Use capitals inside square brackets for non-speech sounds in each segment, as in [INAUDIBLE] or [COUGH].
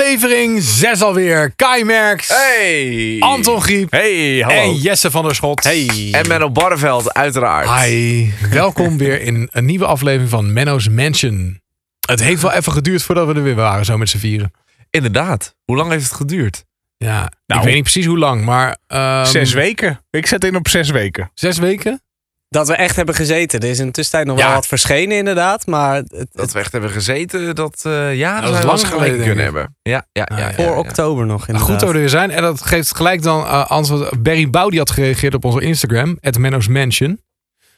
Aflevering 6 alweer. Kai Merks, Hey! Anton Griep Hey, hallo. en Jesse van der Schot. En Menno Barneveld, uiteraard. Hi. Welkom weer in een nieuwe aflevering van Menno's Mansion. Het heeft wel even geduurd voordat we er weer waren, zo met z'n vieren. Inderdaad. Hoe lang heeft het geduurd? Ja, Nou. ik weet niet precies hoe lang, maar... ehm, zes weken. Ik zet in op zes weken. Zes weken? Dat we echt hebben gezeten. Er is in de tussentijd nog Ja. wel wat verschenen, inderdaad. Maar het, Dat we echt hebben gezeten, dat, eh, ja, is dat, lang we lang geleden, gelijk denk kunnen ik. hebben. Ja, ja, ja. Ah, ja, ja, voor ja. oktober nog, Nou, inderdaad. goed dat we er weer zijn. En dat geeft gelijk dan eh, antwoord. Barry Bouw die had gereageerd op onze Instagram. At Menno's Mansion.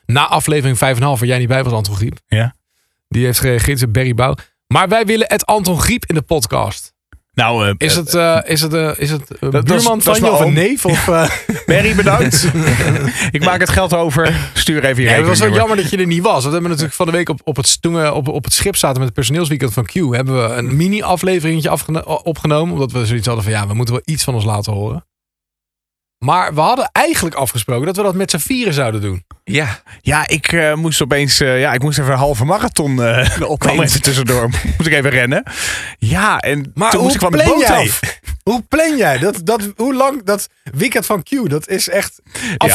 Na aflevering 5,5 waar jij niet bij was, Anton Griep. Ja. Die heeft gereageerd op Barry Bouw. Maar wij willen het Anton Griep in de podcast. Nou, eh, Is het, eh, is het, eh, is het eh, dat is- buurman dat van is je mijn of een oom. neef? Of, eh, Barry, [LAUGHS] bedankt. ik maak het geld over. Stuur even je Ja, het was wel rekeningnummer. jammer dat je er niet was. Want we hebben natuurlijk van de week op, op, het, toen we op, op het schip zaten met het personeelsweekend van Q. Hebben we een mini-afleveringetje afgeno- opgenomen. Omdat we zoiets hadden van ja, we moeten wel iets van ons laten horen. Maar we hadden eigenlijk afgesproken dat we dat met z'n vieren zouden doen. Ja, Ja, ik eh, moest opeens... eh, ja, ik moest even een halve [LAUGHS] marathon... eh kwam even tussendoor. moest ik even rennen. Ja, en toen moest ik van de boot af. Hoe plan jij? Dat, dat, hoe lang dat weekend van Q? Dat is echt af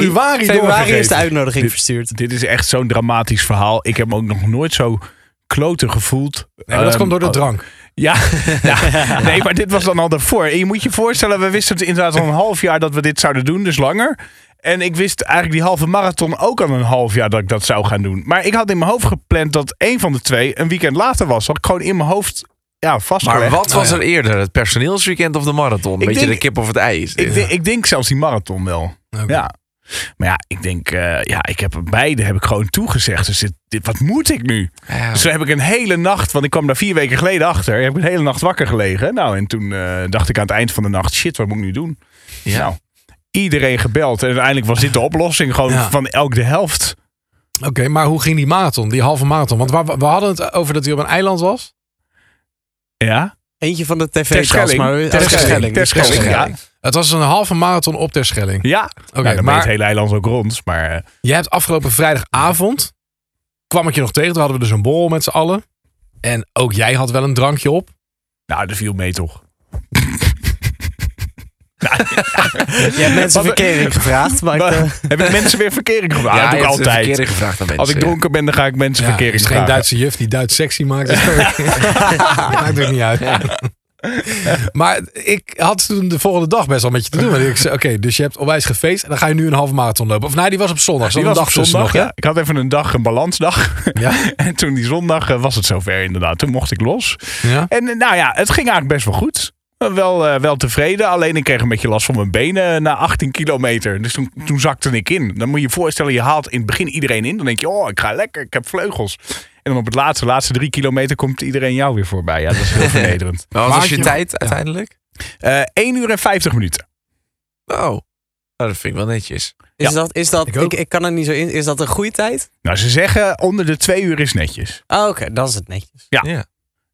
februari, Februari is de doorgegeven. uitnodiging verstuurd. Dit is echt zo'n dramatisch verhaal. Ik heb me ook nog nooit zo kloten gevoeld. Nee, maar dat Ehm, komt door de drank. [LAUGHS] Ja, ja. nee, maar dit was dan al daarvoor. En je moet je voorstellen, we wisten het inderdaad al een half jaar dat we dit zouden doen, dus langer. En ik wist eigenlijk die halve marathon ook al een half jaar dat ik dat zou gaan doen. Maar ik had in mijn hoofd gepland dat één van de twee een weekend later was. Had ik gewoon in mijn hoofd Oh, ja, vastgelegd. maar wat was ja. er eerder? Het personeelsweekend of de marathon? Beetje denk- de kip of het ei is dit. Ik, denk, ik denk zelfs die marathon wel. Oké. Ja. Maar ja, ik denk, eh, ja, ik heb beide heb ik gewoon toegezegd. Dus dit, dit, wat moet ik nu? Ja. Dus toen heb ik een hele nacht, want ik kwam daar vier weken geleden achter, heb ik een hele nacht wakker gelegen. Nou, en toen eh, dacht ik aan het eind van de nacht, shit, wat moet ik nu doen? Ja. Nou, iedereen gebeld. En uiteindelijk was dit de oplossing, gewoon Ja. van elk de helft. Oké, maar hoe ging die marathon? Die halve marathon? Want waar, we hadden het over dat hij op een eiland was. Ja? Eentje van de tv-tas, Terschelling. maar... Oh, Terschelling. Terschelling, ja. Het was een halve marathon op ter Schelling. Ja, Oké, nou, dan maar... het maar hele eiland ook rond. Maar eh, jij hebt afgelopen vrijdagavond. kwam ik je nog tegen. Toen hadden we dus een borrel met z'n allen. En ook jij had wel een drankje op. nou, dat viel mee toch. Je hebt mensen Wat- verkering gevraagd, maar... ik, Maar- eh, Heb ik mensen weer verkering gevraagd? Ja, dat doe ik je hebt de altijd. verkeering gevraagd aan Als mensen, ik dronken ben, dan ga ik mensen Ja, het verkering is geen vragen. Duitse juf die Duits sexy [LAUGHS] maakt. [LAUGHS] Dus maakt ook niet uit. [LAUGHS] maar ik had toen de volgende dag best wel met je te doen. Want ik zei, oké, dus je hebt onwijs gefeest. En dan ga je nu een halve marathon lopen. Of nee, die was op zondag. Die Zo'n was dag op tussen zondag, nog, ja. Ik had even een dag, een balansdag. [LAUGHS] Ja. en toen die zondag eh, was het zover inderdaad. Toen mocht ik los. Ja? En eh, nou ja, het ging eigenlijk best wel goed. Wel, eh, wel tevreden, alleen ik kreeg een beetje last van mijn benen eh, na 18 kilometer. Dus toen, toen zakte ik in. Dan moet je je voorstellen, je haalt in het begin iedereen in. Dan denk je, oh, ik ga lekker, ik heb vleugels. En dan op het laatste, laatste drie kilometer komt iedereen jou weer voorbij. Ja, dat is [LAUGHS] heel vernederend. Maar wat Maar was je je- tijd uiteindelijk? Eh 1 uur en 50 minuten. Oh. Nou, dat vind ik wel netjes. is Ja. dat, is dat, Ik ik, ook. ik, kan er niet zo in. Is dat een goede tijd? Nou, ze zeggen onder de twee uur is netjes. Oh, oké, dan is het netjes. Ja.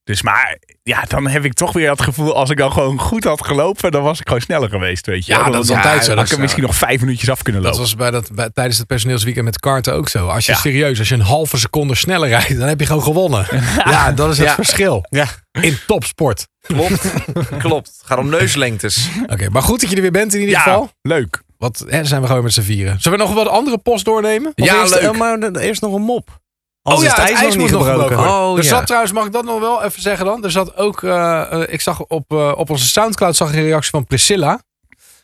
Dus maar, ja, dan heb ik toch weer dat gevoel, als ik dan gewoon goed had gelopen, dan was ik gewoon sneller geweest, weet je. Ja, Dan- dat is dan- altijd zo, dat dan had is ik er zo. misschien nog vijf minuutjes af kunnen Dat lopen. was bij dat, bij, tijdens het personeelsweekend met karten ook zo. Als je Ja. serieus, als je een halve seconde sneller rijdt, dan heb je gewoon [LAUGHS] gewonnen. Ja, dat is het Ja. verschil. Ja. In topsport. Klopt. [LAUGHS] Klopt. Gaat om neuslengtes. Oké, maar goed dat je er weer bent in ieder ja, geval. leuk. [LAUGHS] Want hè, zijn we gewoon met z'n vieren. Zullen we nog wat andere post doornemen? oh Of Ja, eerst, leuk. eh, maar dan- eerst nog een mop. Oh Anders is het ijs, nog niet moet gebroken. gebroken worden. er Oh, ja. zat trouwens, mag ik dat nog wel even zeggen dan? Er zat ook, eh, eh, ik zag op, eh, op onze Soundcloud zag ik een reactie van Priscilla.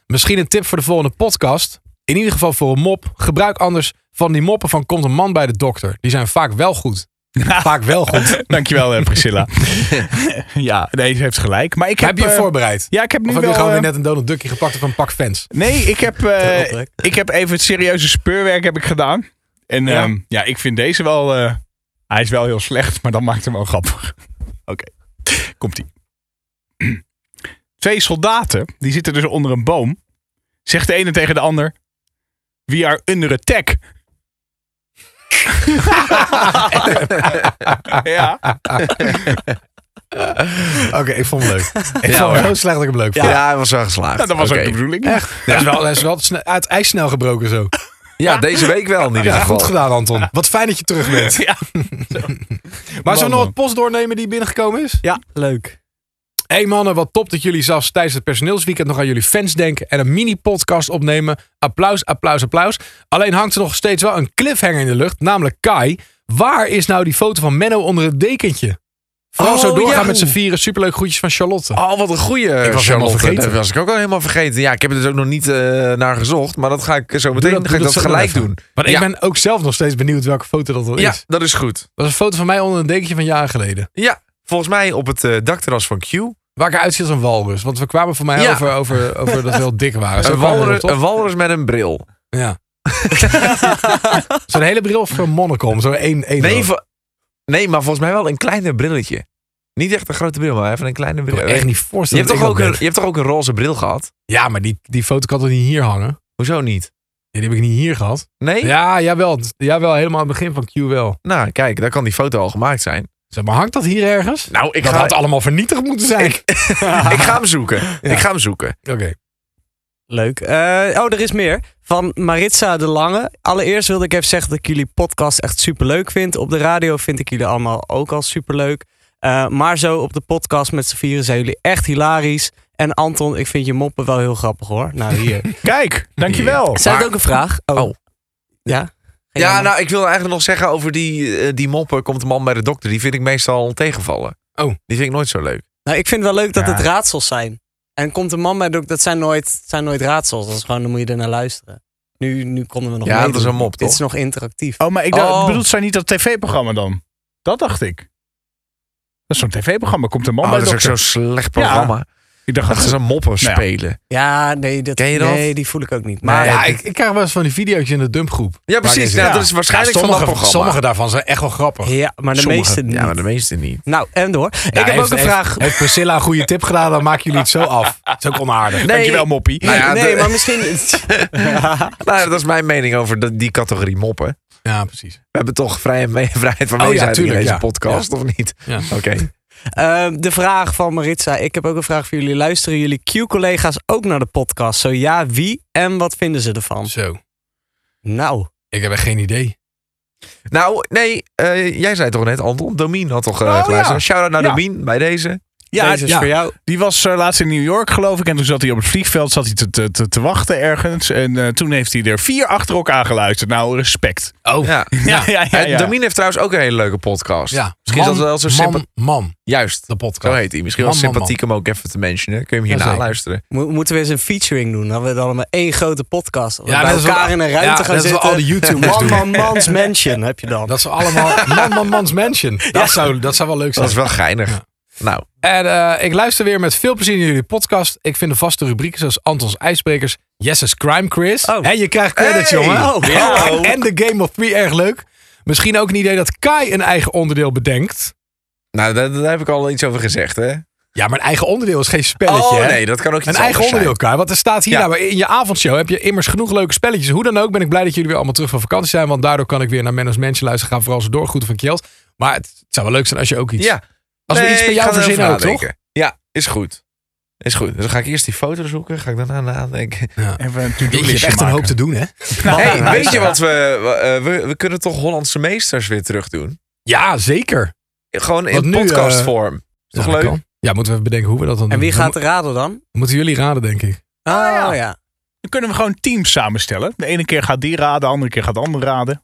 Misschien een tip voor de volgende podcast. In ieder geval voor een mop. Gebruik anders van die moppen van komt een man bij de dokter. Die zijn vaak wel goed. Vaak wel goed. Dankjewel, eh, [LAUGHS] Priscilla. ja, nee, ze heeft gelijk. Maar ik heb, heb je je eh, voorbereid? Ja, ik heb nu Of heb wel... je gewoon eh, weer net een Donald Duckje gepakt of een pak fans? Nee, ik heb, eh, Oprecht. ik heb even het serieuze speurwerk heb ik gedaan. En Ja. ja, ja ik vind deze wel... eh, hij is wel heel slecht, maar dat maakt hem wel grappig. [LAUGHS] Oké, komt-ie. [CLEARS THROAT] Twee soldaten, die zitten dus onder een boom. Zegt de ene tegen de ander... We are under attack. [LAUGHS] ja. Oké, ik vond hem leuk. Ik Ja, vond hoor. hem zo slecht dat ik hem leuk vond. Ja, hij was wel geslaagd. Nou, dat was Oké. ook de bedoeling. Hij is wel, hij is wel sne- uit het ijs snel gebroken zo. Ja, deze week wel in ieder Ja, geval. goed gedaan Anton. Wat fijn dat je terug [LAUGHS] bent. [LAUGHS] Ja. Maar zullen we nog man. wat post doornemen die binnengekomen is? Ja, leuk. Hey mannen, wat top dat jullie zelfs tijdens het personeelsweekend nog aan jullie fans denken en een mini-podcast opnemen. Applaus, applaus, applaus. Alleen hangt er nog steeds wel een cliffhanger in de lucht, namelijk Kai. Waar is nou die foto van Menno onder het dekentje? Vooral Oh, zo doorgaan ja. met z'n vieren. Superleuk groetjes van Charlotte. Oh, wat een goeie. Ik was helemaal vergeten. Dat was ik ook al helemaal vergeten. Ja, ik heb er dus ook nog niet eh, naar gezocht. Maar dat ga ik zo meteen dat- ga doe dat ik dat, zo dan gelijk even. doen. Maar ik ja. ben ook zelf nog steeds benieuwd welke foto dat al Ja, is. dat is goed. Dat is een foto van mij onder een dekentje van jaren geleden. Ja, volgens mij op het eh, dakterras van Q. Een Waar ik uitziet als een walrus. Want we kwamen voor mij Ja. over, over, over dat we heel dik [LAUGHS] waren. Zo kwamen we walrus, erop, toch? een walrus met een bril. Ja. Zo'n hele bril of een monocom? Zo'n één, één Nee, oog. vo- nee, maar volgens mij wel een kleiner brilletje. Niet echt een grote bril, maar even een kleine Ik bril. kan me echt niet je, voorstellen. hebt dat toch ik ook dat een, ben. je hebt toch ook een roze bril gehad? Ja, maar die, die foto kan toch niet hier hangen? Hoezo niet? Ja, die heb ik niet hier gehad. Nee? Ja, jawel. Jawel, helemaal aan het begin van Q wel. Nou, kijk, daar kan die foto al gemaakt zijn. Zeg, maar hangt dat hier ergens? Nou, ik dat ga, had allemaal vernietigd moeten zijn. ik ga hem zoeken. Ik ga hem zoeken. [LAUGHS] Oké. Leuk. Eh, oh, er is meer. Van Maritza de Lange. Allereerst wilde ik even zeggen dat ik jullie podcast echt superleuk vind. Op de radio vind ik jullie allemaal ook al superleuk. Eh, maar zo op de podcast met z'n vieren zijn jullie echt hilarisch. En Anton, ik vind je moppen wel heel grappig hoor. Nou, [LAUGHS] hier. Kijk, dankjewel. Zij had Maar- ook een vraag. Oh. Oh. Ja? Ga jij Ja, maar. nou, ik wil eigenlijk nog zeggen over die, eh, die moppen. Komt de man bij de dokter. Die vind ik meestal tegenvallen. Oh. Die vind ik nooit zo leuk. Nou, ik vind het wel leuk dat Ja. het raadsels zijn. En komt een man bij de hoek, dat zijn nooit, zijn nooit raadsels. Dat is gewoon, dan moet je er naar luisteren. Nu, nu konden we nog ja, dat meedoen. is een mop, Dit toch? is nog interactief. Oh, maar ik dacht, Oh. bedoelt zij niet dat tv-programma dan? Dat dacht ik. Dat is zo'n tv-programma. Komt een man Oh, bij dat de is ook dokter. zo'n slecht programma. Ik dacht, [LAUGHS] Dat ze een moppen Nou ja. spelen. Ja, nee, dat, Ken je dat? nee die voel ik ook niet. Maar Maar ja, ik- ik, ik krijg wel eens van die video's in de dumpgroep. Ja, precies. Waar ik- Nou, dat is waarschijnlijk Ja, sommige, van dat programma. sommige daarvan zijn echt wel grappig. Ja, maar de Sommige. meeste niet. Ja, maar de meeste niet. Nou, en door. Ja, ik heb heeft- ook een heeft- vraag. Heeft Priscilla een goede tip gedaan, dan maken jullie het zo [LAUGHS] af. Dat is ook onaardig. dankjewel moppie. Nou ja, nee, de- maar [LAUGHS] misschien... Nou, dat is mijn mening over dat- die categorie moppen. Ja, precies. We hebben toch vrij [LAUGHS] en me- vrijheid Oh van ja, meningsuiting tuurlijk, in deze ja. podcast, of niet? Ja. Oké. Eh, de vraag van Maritza. Ik heb ook een vraag voor jullie. Luisteren jullie Q-collega's ook naar de podcast? Zo ja, wie en wat vinden ze ervan? Zo. Nou, Ik heb echt geen idee. Nou, nee, eh, jij zei toch net, Anton, Domien had toch eh Oh, geluisterd? ja. Shout-out naar Ja. Domien bij deze. ja, Ja, deze is ja. voor jou. Die was eh, laatst in New York, geloof ik. En toen zat hij op het vliegveld zat hij te, te, te, te wachten ergens. En eh, toen heeft hij er vier achter elkaar geluisterd. Nou, respect. Oh. Ja. Ja. Ja, ja, ja. En Domien heeft trouwens ook een hele leuke podcast. man, Misschien is dat wel zo man, sympath- man, Juist, de zo podcast. heet hij. Misschien wel Man, man, sympathiek om ook even te mentionen. Kun je hem hierna Jazeker. luisteren. Mo- moeten we eens een featuring doen? Dan we dan allemaal één grote podcast. Ja, Ja, bij dat is wel- elkaar in een ruimte ja, gaan dat is wel zitten. al die YouTubers Man, doen. man, [LAUGHS] man's mansion heb je dan. Dat ze [LAUGHS] allemaal man, man, man's mansion. Dat, zou, dat zou wel leuk Dat zijn. is wel geinig. Nou, En eh, ik luister weer met veel plezier naar jullie podcast. Ik vind de vaste rubrieken zoals Antons IJsbrekers, Jesse's Crime Quiz. Oh. En je krijgt credits, Hey. jongen. Oh, ja. En- En de Game of Three, erg leuk. Misschien ook een idee dat Kai een eigen onderdeel bedenkt. nou daar, daar heb ik al iets over gezegd, hè? Ja, maar een eigen onderdeel is geen spelletje, Oh hè? nee, dat kan ook iets Een eigen anders onderdeel, zijn. Kai. Want er staat hier Ja. nou, in je avondshow heb je immers genoeg leuke spelletjes. Hoe dan ook ben ik blij dat jullie weer allemaal terug van vakantie zijn. Want daardoor kan ik weer naar Menno's Mansion luisteren. Gaan vooral zo door. Goed van Kjeld. Maar het, het zou wel leuk zijn als je ook iets... Ja. Als we iets bij ik jou ga erover verzinnen ook, toch? nadenken. Ja, is goed. Is goed. Dus dan ga ik eerst die foto zoeken. Ga ik daarna nadenken. Even een Je hebt echt een hoop te doen, hè? Hey, weet je wat we, we- eh, we... We kunnen toch Hollandse meesters weer terug doen? Ja, zeker. Gewoon Wat in nu, eh, podcastvorm. Is toch Ja, dat leuk? kan. Ja, moeten we even bedenken hoe we dat dan En doen. wie gaat Dan er raden dan? mo- Moeten jullie raden, denk ik. Oh ja. ja. Dan kunnen we gewoon teams samenstellen. De ene keer gaat die raden, de andere keer gaat de ander raden.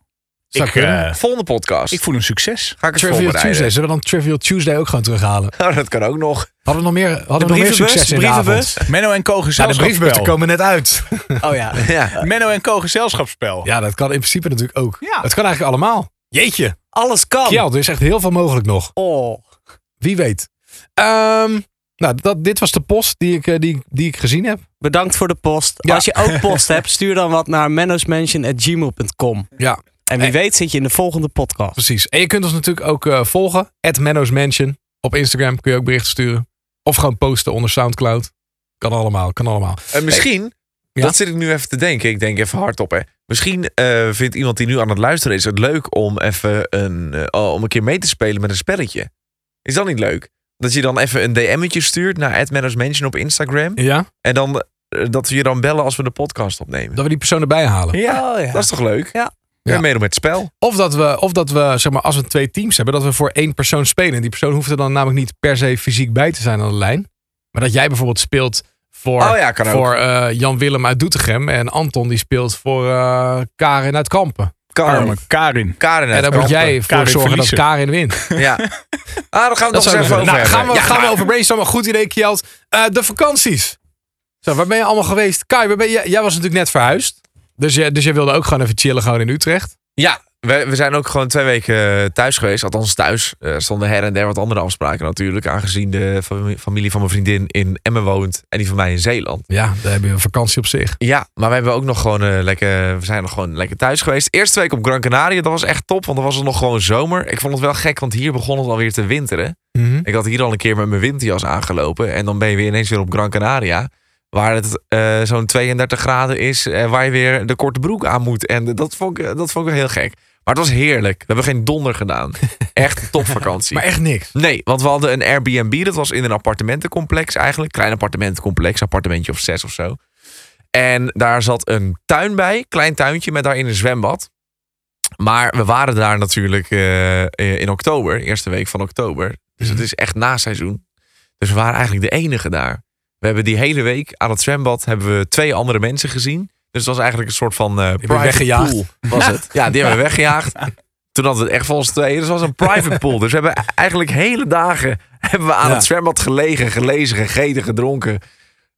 Zou ik, kunnen. eh, Volgende podcast. ik voel een succes. Ga ik het Trivial voorbereiden. Tuesday. Zullen we dan Trivial Tuesday ook gewoon terughalen? [LAUGHS] Nou, dat kan ook nog. Hadden we nog meer, hadden we nog meer brievenbus, succes in de avond? brievenbus. Menno en Co. Ja, de brievenbussen gezelschapsspel. komen net uit. Oh ja. Ja. Menno en Co. gezelschapsspel. [LAUGHS] Ja, dat kan in principe natuurlijk ook. Ja. Het kan eigenlijk allemaal. Jeetje. Alles kan. Kjeld, er is echt heel veel mogelijk nog. Oh. Wie weet. Ehm, nou, dat, dit was de post die ik, eh, die, die ik gezien heb. Bedankt voor de post. Ja. Als je ook post hebt, stuur dan wat naar mennosmansion.gmail.com. Ja. En wie weet zit je in de volgende podcast. Precies. En je kunt ons natuurlijk ook eh, volgen. At Menno's Mansion. Op Instagram kun je ook berichten sturen. Of gewoon posten onder Soundcloud. Kan allemaal, kan allemaal. En Eh, misschien, Ja? dat zit ik nu even te denken. Ik denk even hardop, hè. Misschien eh, vindt iemand die nu aan het luisteren is het leuk om even een, eh, oh, om een keer mee te spelen met een spelletje. Is dat niet leuk? Dat je dan even een DM'tje stuurt naar Mansion op Instagram. Ja? En dan eh, dat we je dan bellen als we de podcast opnemen. Dat we die persoon erbij halen. Ja. Oh, ja. Dat is toch leuk? Ja. Ja. Ja. meedoen met het spel. Of dat we, of dat we zeg maar, als we twee teams hebben, dat we voor één persoon spelen. En die persoon hoeft er dan namelijk niet per se fysiek bij te zijn aan de lijn. Maar dat jij bijvoorbeeld speelt voor, Oh ja, kan ook. voor eh, Jan Willem uit Doetinchem. En Anton die speelt voor eh, Karin uit Kampen. Arme Karin. Karin uit en daar moet Kampen. jij voor Karin zorgen verliezen. dat Karin wint. [LAUGHS] Ja. Ah, daar gaan we Dat het nog eens zou ik even zeggen. over Nou, hebben. gaan we, Ja, gaan we maar- over brainstormen. Goed idee, Kjeld. Eh, de vakanties. Zo, waar ben je allemaal geweest? Kai, waar ben je, jij was natuurlijk net verhuisd. Dus jij, dus jij wilde ook gewoon even chillen gewoon in Utrecht. Ja, we, we zijn ook gewoon twee weken eh, thuis geweest. Althans thuis. Eh, stonden her en der wat andere afspraken natuurlijk. Aangezien de fami- familie van mijn vriendin in Emmen woont. En die van mij in Zeeland. Ja, daar heb je een vakantie op zich. Ja, maar we hebben ook nog gewoon eh, lekker... We zijn nog gewoon lekker thuis geweest. Eerste week op Gran Canaria. Dat was echt top. Want dan was het nog gewoon zomer. Ik vond het wel gek. Want hier begon het alweer te winteren. Mhm. Ik had hier al een keer met mijn winterjas aangelopen. En dan ben je weer ineens weer op Gran Canaria. Waar het eh, zo'n 32 graden is. eh, waar je weer de korte broek aan moet. En dat vond, ik, dat vond ik wel heel gek. Maar het was heerlijk. We hebben geen donder gedaan. Echt topvakantie. Maar echt niks. Nee, want we hadden een Airbnb. Dat was in een appartementencomplex eigenlijk. Klein appartementencomplex. Appartementje of zes of zo. En daar zat een tuin bij. Klein tuintje met daarin een zwembad. Maar we waren daar natuurlijk eh, eh, in oktober. Eerste week van oktober. Dus Mhm. het is echt na seizoen. Dus we waren eigenlijk de enige daar. We hebben die hele week aan het zwembad hebben we twee andere mensen gezien. Dus het was eigenlijk een soort van eh private weggejaagd. pool. Was het. Ja, [LAUGHS] die hebben we weggejaagd. Toen hadden we het echt van ons tweeën. Dus het was een private pool. Dus we hebben eigenlijk hele dagen hebben we aan Ja. het zwembad gelegen, gelezen, gegeten, gedronken.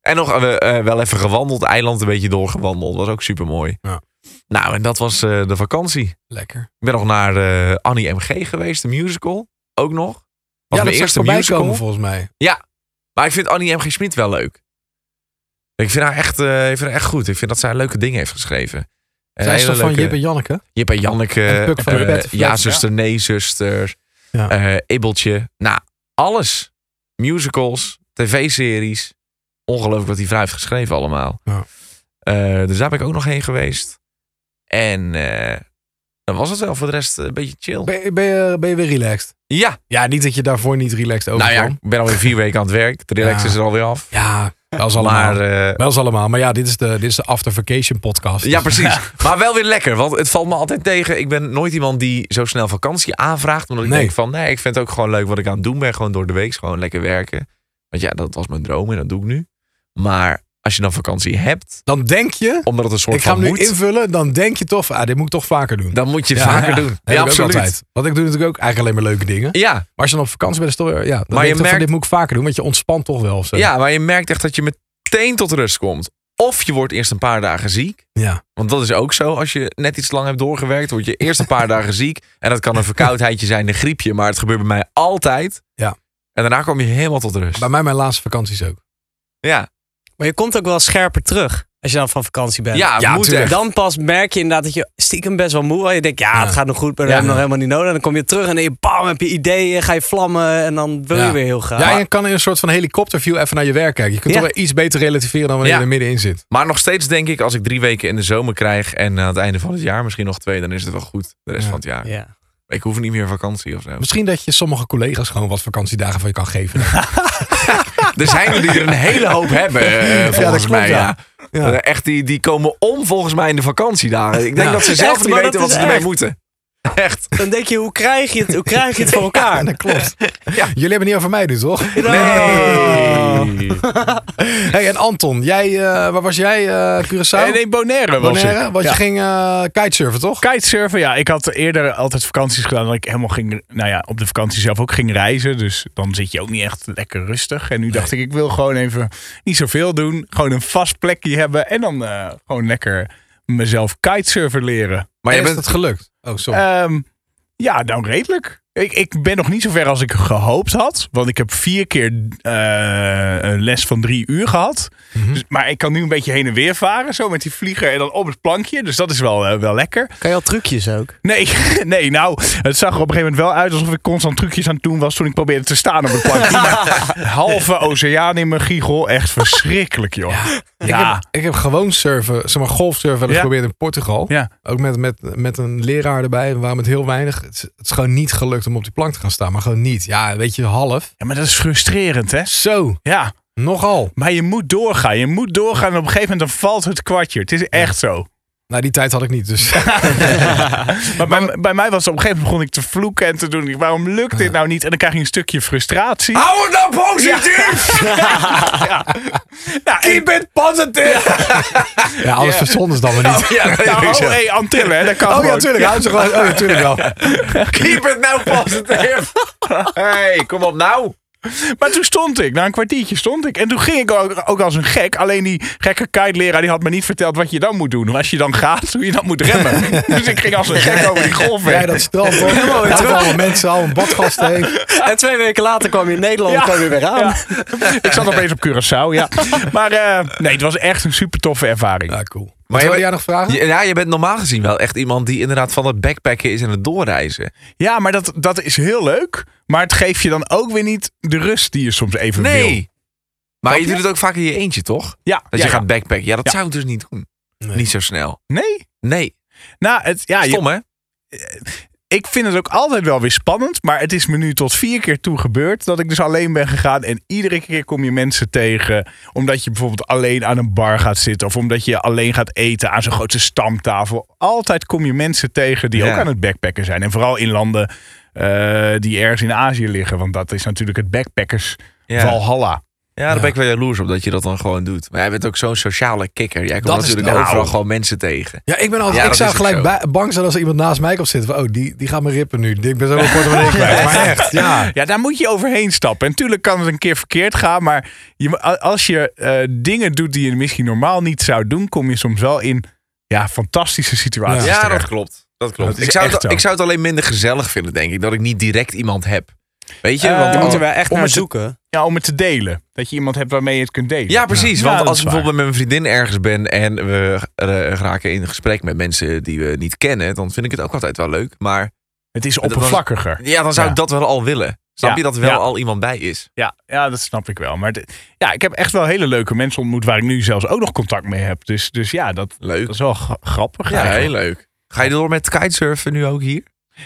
En nog eh, eh, wel even gewandeld. Eiland een beetje doorgewandeld. Was ook super mooi. Ja. Nou, en dat was eh, de vakantie. Lekker. Ik ben nog naar eh, Annie MG geweest, de musical. Ook nog. Was ja, mijn dat eerste eerste musical. komen volgens mij. Maar ik vind Annie M.G. Smit wel leuk. Ik vind haar echt, eh, ik vind haar echt goed. Ik vind dat zij leuke dingen heeft geschreven. En Zij is hele toch van leuke- Jip en Janneke? Jip en Janneke. En Puk van eh, de Bed. ja, zuster, nee, zuster. Ja. eh, Ibbeltje. Nou, alles. Musicals, tv-series. Ongelooflijk wat die vrouw heeft geschreven allemaal. Ja. Eh, dus daar ben ik ook nog heen geweest. En eh, dan was het wel voor de rest een beetje chill. Ben, je- ben, je, ben je weer relaxed? Ja, Ja, niet dat je daarvoor niet relaxed nou ja, overkwam. ik ben alweer vier weken aan het werk. De relax Ja. is er alweer af. ja, wel is allemaal. Maar, eh, wel is allemaal. Maar ja, dit is de, dit is de After Vacation podcast. Dus ja, [LAUGHS] precies. Maar wel weer lekker, want het valt me altijd tegen. Ik ben nooit iemand die zo snel vakantie aanvraagt. Omdat ik Nee. denk van, nee, ik vind het ook gewoon leuk wat ik aan het doen ben. Gewoon door de week, gewoon lekker werken. Want ja, dat was mijn droom en dat doe ik nu. Maar als je dan vakantie hebt, Dan denk je, omdat het een soort ik ga hem van nu moet... invullen, dan denk je toch, ah, dit moet ik toch vaker doen. Dan moet je het Ja, vaker ja. doen. Dat ja, heb ik ook absoluut. altijd. Want ik doe natuurlijk ook eigenlijk alleen maar leuke dingen. Ja, Maar als je dan op vakantie bent, dan, is het toch weer- ja, dan denk Maar je je toch van, merkt- dit moet ik vaker doen, want je ontspant toch wel of zo. ja, maar je merkt echt dat je meteen tot rust komt. Of je wordt eerst een paar dagen ziek. Ja. Want dat is ook zo. Als je net iets lang hebt doorgewerkt, word je eerst een paar dagen ziek. En dat kan een verkoudheidje zijn, een griepje. Maar het gebeurt bij mij altijd. Ja. En daarna kom je helemaal tot rust. Bij mij mijn laatste vakanties ook. Ja, Maar je komt ook wel scherper terug als je dan van vakantie bent. ja, Ja, moet tuurlijk. echt. Dan pas merk je inderdaad dat je stiekem best wel moe was. Je denkt, ja, Ja. het gaat nog goed, maar we Ja. hebben nog helemaal niet nodig. En dan kom je terug en dan bam, heb je ideeën, ga je vlammen en dan wil Ja. je weer heel graag. Ja, en je kan in een soort van helikopterview even naar je werk kijken. Je kunt Ja. toch wel iets beter relativeren dan wanneer Ja. je er middenin zit. Maar nog steeds denk ik, als ik drie weken in de zomer krijg... en aan het einde van het jaar misschien nog twee... dan is het wel goed, de rest Ja. van het jaar. Ja. Ik hoef niet meer vakantie of zo. Misschien dat je sommige collega's gewoon wat vakantiedagen van je kan [LAUGHS] geven. Er zijn er die er een hele hoop hebben, eh, volgens klopt, mij. ja. Ja. Ja. Eh, Echt, die, die komen om volgens mij in de vakantiedagen. Ik denk Ja. dat ze zelf Echt, niet maar weten dat wat ze is ermee echt. moeten. [LAUGHS] Echt. Dan denk je, hoe krijg je het, hoe krijg je het voor elkaar? dat klopt. Jullie hebben niet over mij nu, toch? Oh. Hey, en Anton, jij, eh, waar was jij? eh Curaçao? Nee, nee, Bonaire was Bonaire? het. Want Ja. je ging eh, kitesurfen, toch? Kitesurfen, ja. Ik had eerder altijd vakanties gedaan. Dat ik helemaal ging, nou ja, op de vakantie zelf ook ging reizen. Dus dan zit je ook niet echt lekker rustig. En nu dacht ik, ik wil gewoon even niet zoveel doen. Gewoon een vast plekje hebben. En dan eh, gewoon lekker mezelf kitesurfen leren. Maar En is je bent dat gelukt? Oh, sorry. Ehm, ja, nou redelijk. Ik, ik ben nog niet zo ver als ik gehoopt had. Want ik heb vier keer eh, een les van drie uur gehad. Mhm. Dus, maar ik kan nu een beetje heen en weer varen. Zo met die vlieger en dan op het plankje. Dus dat is wel, eh, wel lekker. Kan je al trucjes ook? Nee, [LAUGHS] nee, nou, het zag er op een gegeven moment wel uit alsof ik constant trucjes aan het doen was toen ik probeerde te staan op het plankje. Maar halve oceaan in mijn giegel, echt verschrikkelijk, joh. Ja, Ik, heb, ik heb gewoon surfen, zeg maar golfsurfen wel eens Ja. geprobeerd in Portugal. Ja. Ook met, met, met een leraar erbij. We waren met heel weinig. Het is, het is gewoon niet gelukt om op die plank te gaan staan. Maar gewoon niet. Ja, weet je, half. Ja, maar dat is frustrerend, hè? Zo, Ja, nogal. maar je moet doorgaan. Je moet doorgaan en op een gegeven moment dan valt het kwartje. Het is echt zo. Nou, die tijd had ik niet. [LAUGHS] Dus. Maar bij, bij mij was het op een gegeven moment begon ik te vloeken en te doen. ik, Waarom lukt dit nou niet? En dan krijg je een stukje frustratie. Hou het nou positief! Ja, en- bent positief! Ja, alles verzonnen is dan weer niet. [LAUGHS] Ja, dat [LAUGHS] nou, weet ik zo. oh, hey, Antillen, hè, dat kan Oh ja, gewoon. natuurlijk. Houd ze gewoon. Oh, natuurlijk wel. Keep it nou positief! [LAUGHS] hey, kom op nou! Maar toen stond ik, na een kwartiertje stond ik. En toen ging ik ook, ook als een gek. Alleen die gekke kite-leraar die had me niet verteld wat je dan moet doen. Als je dan gaat, hoe je dan moet remmen. dus ik ging als een gek over die golf Jij dat strand. hoor. Laat allemaal mensen, allemaal badgasten heen. En twee weken later kwam je in Nederland Ja. kwam je weer aan. ik zat opeens op Curaçao, ja. Maar eh, nee, het was echt een super toffe ervaring. Ja, cool. Wat maar Maar wilde je- jij nog vragen? Ja, ja, je bent normaal gezien wel echt iemand die inderdaad van het backpacken is en het doorreizen. Ja, maar dat, dat is heel leuk. Maar het geeft je dan ook weer niet de rust die je soms even wil. Nee. Maar Snap je je? doet het ook vaak in je eentje, toch? Ja, Dat ja, je gaat backpacken. Ja, dat Ja. zou ik dus niet doen. Nee. Niet zo snel. Nee? Nee. Nou, het, ja, je- Stom, hè? ik vind het ook altijd wel weer spannend. Maar het is me nu tot vier keer toe gebeurd dat ik dus alleen ben gegaan. En iedere keer kom je mensen tegen. Omdat je bijvoorbeeld alleen aan een bar gaat zitten. Of omdat je alleen gaat eten aan zo'n grote stamtafel. Altijd kom je mensen tegen die Ja. ook aan het backpacken zijn. En vooral in landen eh, die ergens in Azië liggen. Want dat is natuurlijk het backpackers Ja. Valhalla. ja, daar ben ik wel jaloers op dat je dat dan gewoon doet. Maar jij bent ook zo'n sociale kikker. Jij komt Dat is natuurlijk nou- overal gewoon mensen tegen. Ja, ik ben altijd. Ja, ik dat zou is ook gelijk zo. ba- bang zijn als er iemand naast mij komt zitten. Van, oh, die, die gaat me rippen nu. Ik ben zo wel portemonnee [LAUGHS] kwijt. Maar echt, ja. Ja, daar moet je overheen stappen. En tuurlijk kan het een keer verkeerd gaan, maar je, a- als je eh, dingen doet die je misschien normaal niet zou doen, kom je soms wel in ja, fantastische situaties. Ja, terecht. dat klopt. Dat klopt. Dat is ik, zou echt het, zo. ik zou het alleen minder gezellig vinden, denk ik, dat ik niet direct iemand heb. Weet je? Eh, want Daar om- moeten we echt om naar het te- zoeken. ja, om het te delen. Dat je iemand hebt waarmee je het kunt delen. Ja, precies. Ja, want dat als is ik bijvoorbeeld met mijn vriendin ergens ben en we eh, raken in gesprek met mensen die we niet kennen, dan vind ik het ook altijd wel leuk. Maar Het is Dat was- oppervlakkiger. ja, dan zou Ja. ik dat wel al willen. Snap Ja, je dat er wel ja. al iemand bij is? Ja, ja, dat snap ik wel. Maar de- ja, ik heb echt wel hele leuke mensen ontmoet waar ik nu zelfs ook nog contact mee heb. Dus, dus ja, dat, Leuk. dat is wel gra- grappig. Ja, eigenlijk. heel leuk. Ga je door met kitesurfen nu ook hier?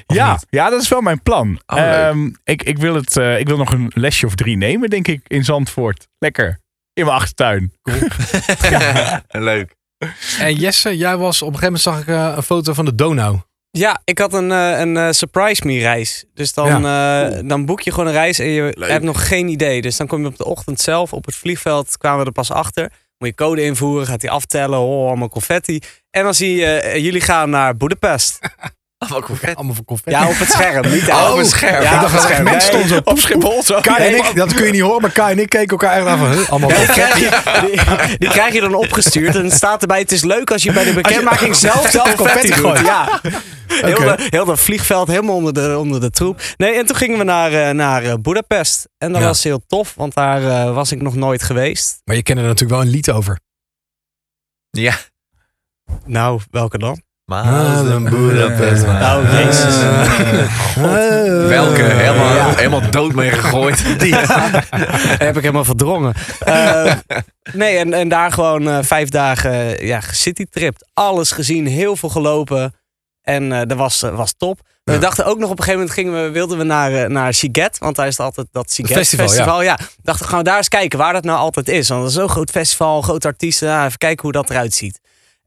Of Ja, niet? ja, dat is wel mijn plan. Oh, leuk. Ehm, ik, ik, wil het, eh, ik wil nog een lesje of drie nemen, denk ik, in Zandvoort. Lekker. In mijn achtertuin. [LAUGHS] leuk. En Jesse, jij was op een gegeven moment zag ik eh, een foto van de Donau. Ja, ik had een, eh, een eh, surprise me reis. Dus dan, eh, dan boek je gewoon een reis en je Leuk. hebt nog geen idee. Dus dan kom je op de ochtend zelf op het vliegveld, kwamen we er pas achter. Moet je code invoeren, gaat hij aftellen, oh, allemaal confetti. En dan zie je, eh, jullie gaan naar Boedapest. Oh, Wat vet. Allemaal van confetti. Ja, op het scherm, niet uit. Oh, een scherm. Ja, ik dacht op dat het echt scherm. mensen Nee, stonden zo. Op Schiphol zo. Kai en ik, dat kun je niet horen, maar Kai en ik keken elkaar echt aan van, huh, allemaal Die confetti. krijg, je, die, die krijg je dan opgestuurd en het staat erbij. Het is leuk als je bij de bekendmaking zelf zelf confetti confetti gooit. Ja. Heel, Oké. de, heel dat vliegveld helemaal onder de, onder de troep. Nee, en toen gingen we naar, eh, naar eh, Boedapest. En dat Ja. was heel tof, want daar eh, was ik nog nooit geweest. Maar je kende er natuurlijk wel een lied over. Ja. Nou, welke dan? Mazen, Boedapest, Nou, jezus. Ah. Welke? Helemaal, Ja. helemaal dood mee [LAUGHS] gegooid. [LAUGHS] Die. Dat [LAUGHS] heb ik helemaal verdrongen. [LAUGHS] Eh, nee, en, en daar gewoon eh, vijf dagen eh, ja, citytript. Alles gezien, heel veel gelopen. En eh, dat was, eh, was top. We dachten ook nog op een gegeven moment gingen we, wilden we naar, eh, naar Siget. Want daar is het altijd dat Siget festival, festival. ja. Dachten we gaan we daar eens kijken waar dat nou altijd is. Want dat is zo'n groot festival, grote artiesten. Nou, even kijken hoe dat eruit ziet.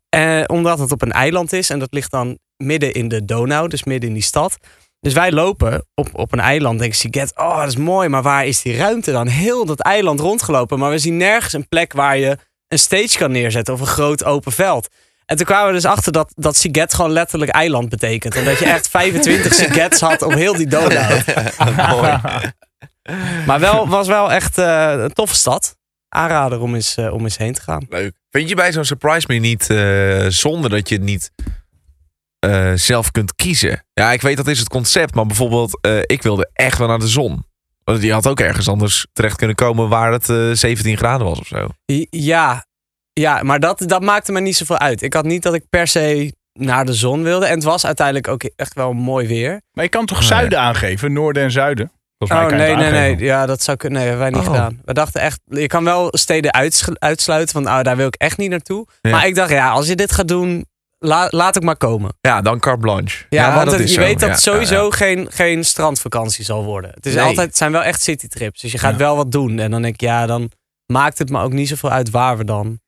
Eh, omdat het op een eiland is en dat ligt dan midden in de Donau, dus midden in die stad. Dus wij lopen op, op een eiland. Denk Siget, oh dat is mooi, maar waar is die ruimte dan? Heel dat eiland rondgelopen, maar we zien nergens een plek waar je een stage kan neerzetten of een groot open veld. En toen kwamen we dus achter dat, dat Siget gewoon letterlijk eiland betekent. En dat je echt 25 Sigets had op heel die Donau. Mooi. Maar wel, was wel echt eh, een toffe stad. Aanrader om eens, eh, om eens heen te gaan. Leuk. Vind je bij zo'n surprise me niet eh, zonde dat je het niet eh, zelf kunt kiezen? Ja, ik weet dat is het concept, maar bijvoorbeeld eh, ik wilde echt wel naar de zon. Want die had ook ergens anders terecht kunnen komen waar het eh, 17 graden was of zo. I- Ja, ja maar dat, dat maakte me niet zoveel uit. Ik had niet dat ik per se naar de zon wilde. En het was uiteindelijk ook echt wel mooi weer. Maar je kan toch Nee. zuiden aangeven? Noorden en zuiden? Volgens Oh mij kan je nee, het nee, nee. aangeven. Ja, dat zou kunnen. Nee, hebben wij niet Oh. gedaan. We dachten echt, je kan wel steden uits- uitsluiten. Van, oh, daar wil ik echt niet naartoe. Ja. Maar ik dacht, ja, als je dit gaat doen, la- laat ik maar komen. Ja, dan carte blanche. Ja, want dat het- is zo. je weet dat Ja, het sowieso ja, Geen, geen strandvakantie zal worden. Het, is Nee. altijd, het zijn wel echt citytrips. Dus je gaat Ja. wel wat doen. En dan denk ik, ja, dan maakt het me ook niet zoveel uit waar we dan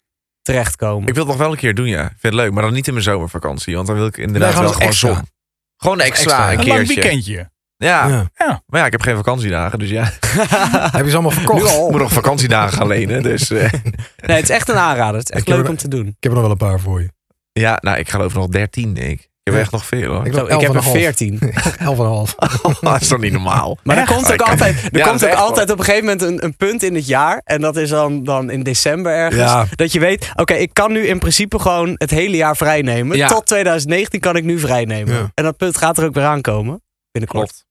terechtkomen. Ik wil het nog wel een keer doen, ja. Ik vind het leuk, maar dan niet in mijn zomervakantie. Want dan wil ik inderdaad Nee, gewoon wel gewoon extra. zon. Gewoon extra, extra. een Een keertje. lang weekendje. Ja. Ja. maar ja, ik heb geen vakantiedagen, dus ja. Heb je ze allemaal verkocht? Nu al. Ik moet nog vakantiedagen gaan lenen, dus... eh, Nee, het is echt een aanrader. Het is echt Ik heb leuk er- om te doen. Ik heb er nog wel een paar voor je. ja, nou, ik geloof nog 13, denk ik. Ik heb Ja. echt nog veel, [LAUGHS] hoor. Ik Zo, dacht ik heb er 11,5. 14. Elf en een half. dat is toch niet normaal? Maar er Echt? komt ook Oh, ik- altijd, er Ja, dat komt is ook echt altijd op een gegeven moment een, een punt in het jaar. En dat is dan, dan in december ergens. Ja. Dat je weet, oké, ik kan nu in principe gewoon het hele jaar vrijnemen. Ja. Tot 2019 kan ik nu vrijnemen. Ja. En dat punt gaat er ook weer aankomen. Binnenkort. Klopt.